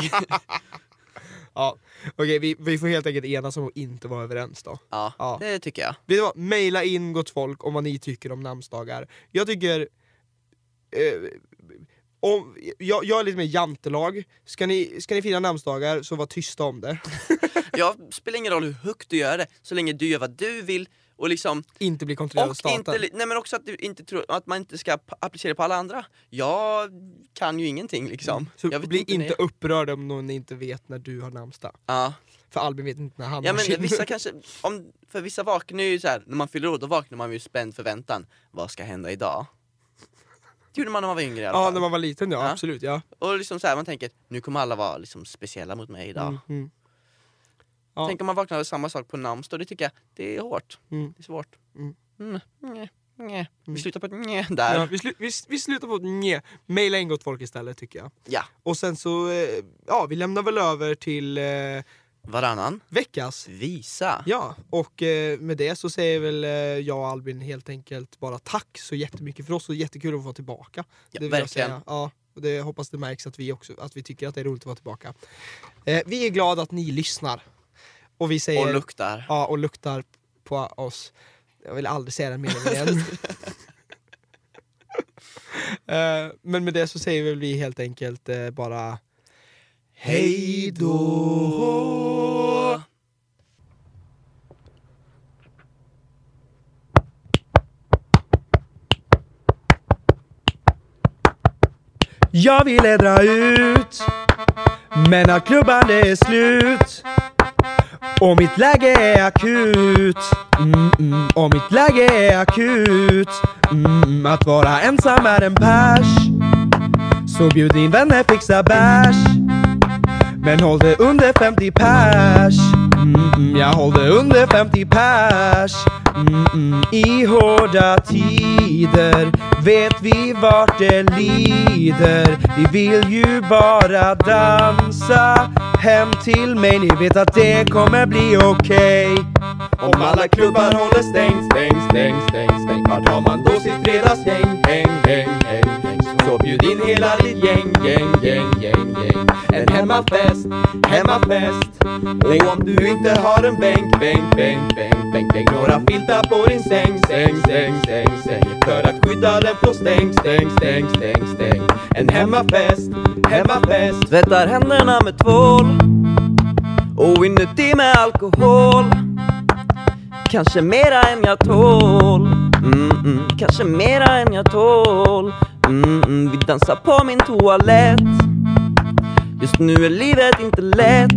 B: Ja. Okej, vi, vi får helt enkelt enas om att inte vara överens då.
A: Ja,
B: Ja.
A: det tycker jag.
B: Vet du vad? Maila in gott folk om vad ni tycker om namnsdagar. Jag tycker... Eh, om, jag, jag är lite mer jantelag. Ska ni, ska ni fira namnsdagar så var tysta om det.
A: Jag spelar ingen roll hur högt du gör det, så länge du gör vad du vill och liksom
B: Inte bli kontrollerad av
A: Och
B: staten.
A: inte, li- nej men också att, du inte tror, att man inte ska p- applicera på alla andra. Jag kan ju ingenting liksom.
B: Mm. så
A: jag
B: bli inte,
A: när-
B: upprörd om någon inte vet när du har namnsdag.
A: Ja.
B: För Albin vet inte när han
A: ja
B: har sin.
A: men vissa kanske, om, för vissa vaknar ju så här, när man fyller år då vaknar man ju i spänd förväntan. Vad ska hända idag? Det gjorde man när man var yngre i alla
B: Ja,
A: fall.
B: när man var liten ja,
A: Ja.
B: absolut. Ja.
A: Och liksom så här, man tänker, nu kommer alla vara liksom speciella mot mig idag.
B: Mm, mm. Ja.
A: Tänk om man vaknar av samma sak på namnsdag, det tycker jag, det är hårt.
B: Mm.
A: Det är svårt.
B: Mm.
A: Mm. Nje, nje.
B: Mm.
A: Vi slutar på ett nje där.
B: Ja, vi, slu- vi, s- vi slutar på ett nje. Maila in gott folk istället tycker jag.
A: Ja.
B: Och sen så, eh, ja vi lämnar väl över till eh,
A: Varannan
B: veckas.
A: visa.
B: Ja, och eh, med det så säger väl eh, jag och Albin helt enkelt bara tack så jättemycket för oss och jättekul att vara tillbaka.
A: Ja,
B: det vill
A: verkligen.
B: Jag säga. Ja, och det jag hoppas det märks att vi också att vi tycker att det är roligt att vara tillbaka. Eh, vi är glada att ni lyssnar. Och vi säger
A: Och luktar.
B: ja, och luktar på oss. Jag vill aldrig säga den meningen igen. Eh, Men med det så säger väl vi helt enkelt eh, bara Hej då! Jag vill ädra ut Men att klubban är slut Och mitt läge är akut mm, mm, Och mitt läge är akut mm, Att vara ensam är en pers Så bjud in vänner, fixa bärs Men håll det under 50 pers mm, mm, Jag håll det under 50 pers mm, mm. I hårda tider vet vi vart det lider Vi vill ju bara dansa hem till mig Ni vet att det kommer bli okej Om alla klubbar håller stängt, stängt, stängt, stängt, stängt Vart har man då sitt fredagsgäng, häng, häng, häng, häng Så bjud in hela ditt gäng, gäng, gäng, gäng, gäng En hemmafest, hemmafest Och om du inte har en bänk, bänk, bänk, bänk, bänk, bänk Några filtar på din säng, säng, säng, säng, säng För att skydda den från stäng, stäng, stäng, stäng, stäng En hemmafest, hemmafest
A: Tvättar händerna med tvål och inuti med alkohol Kanske mera än jag tål mm, mm. Kanske mera än jag tål mm, mm. Vi dansar på min toalett Just nu är livet inte lätt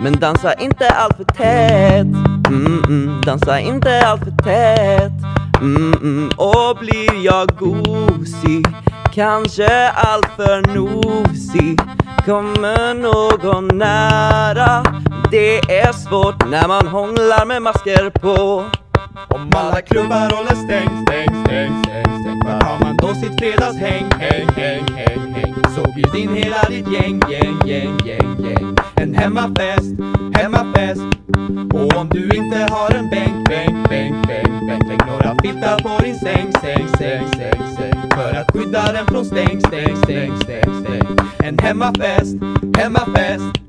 A: Men dansa inte allt för tätt mm, mm. Dansa inte allt för tätt mm, mm. Och blir jag gosig Kanske allt för nosig Kommer någon nära Det är svårt när man hånglar med masker på
C: Om alla klubbar håller stängt, stängt, stängt, stängt, stängt Var har man då sitt fredagshäng, häng, häng, häng, häng Så bjud in hela ditt gäng, gäng, gäng, gäng, gäng En hemmafest, hemmafest Och om du inte har en bänk, bänk, bänk, bänk, bänk Lägg några filtar på din säng, säng, säng, säng, säng För att skydda den från stäng, stäng, stäng, stäng, stäng En hemmafest, hemmafest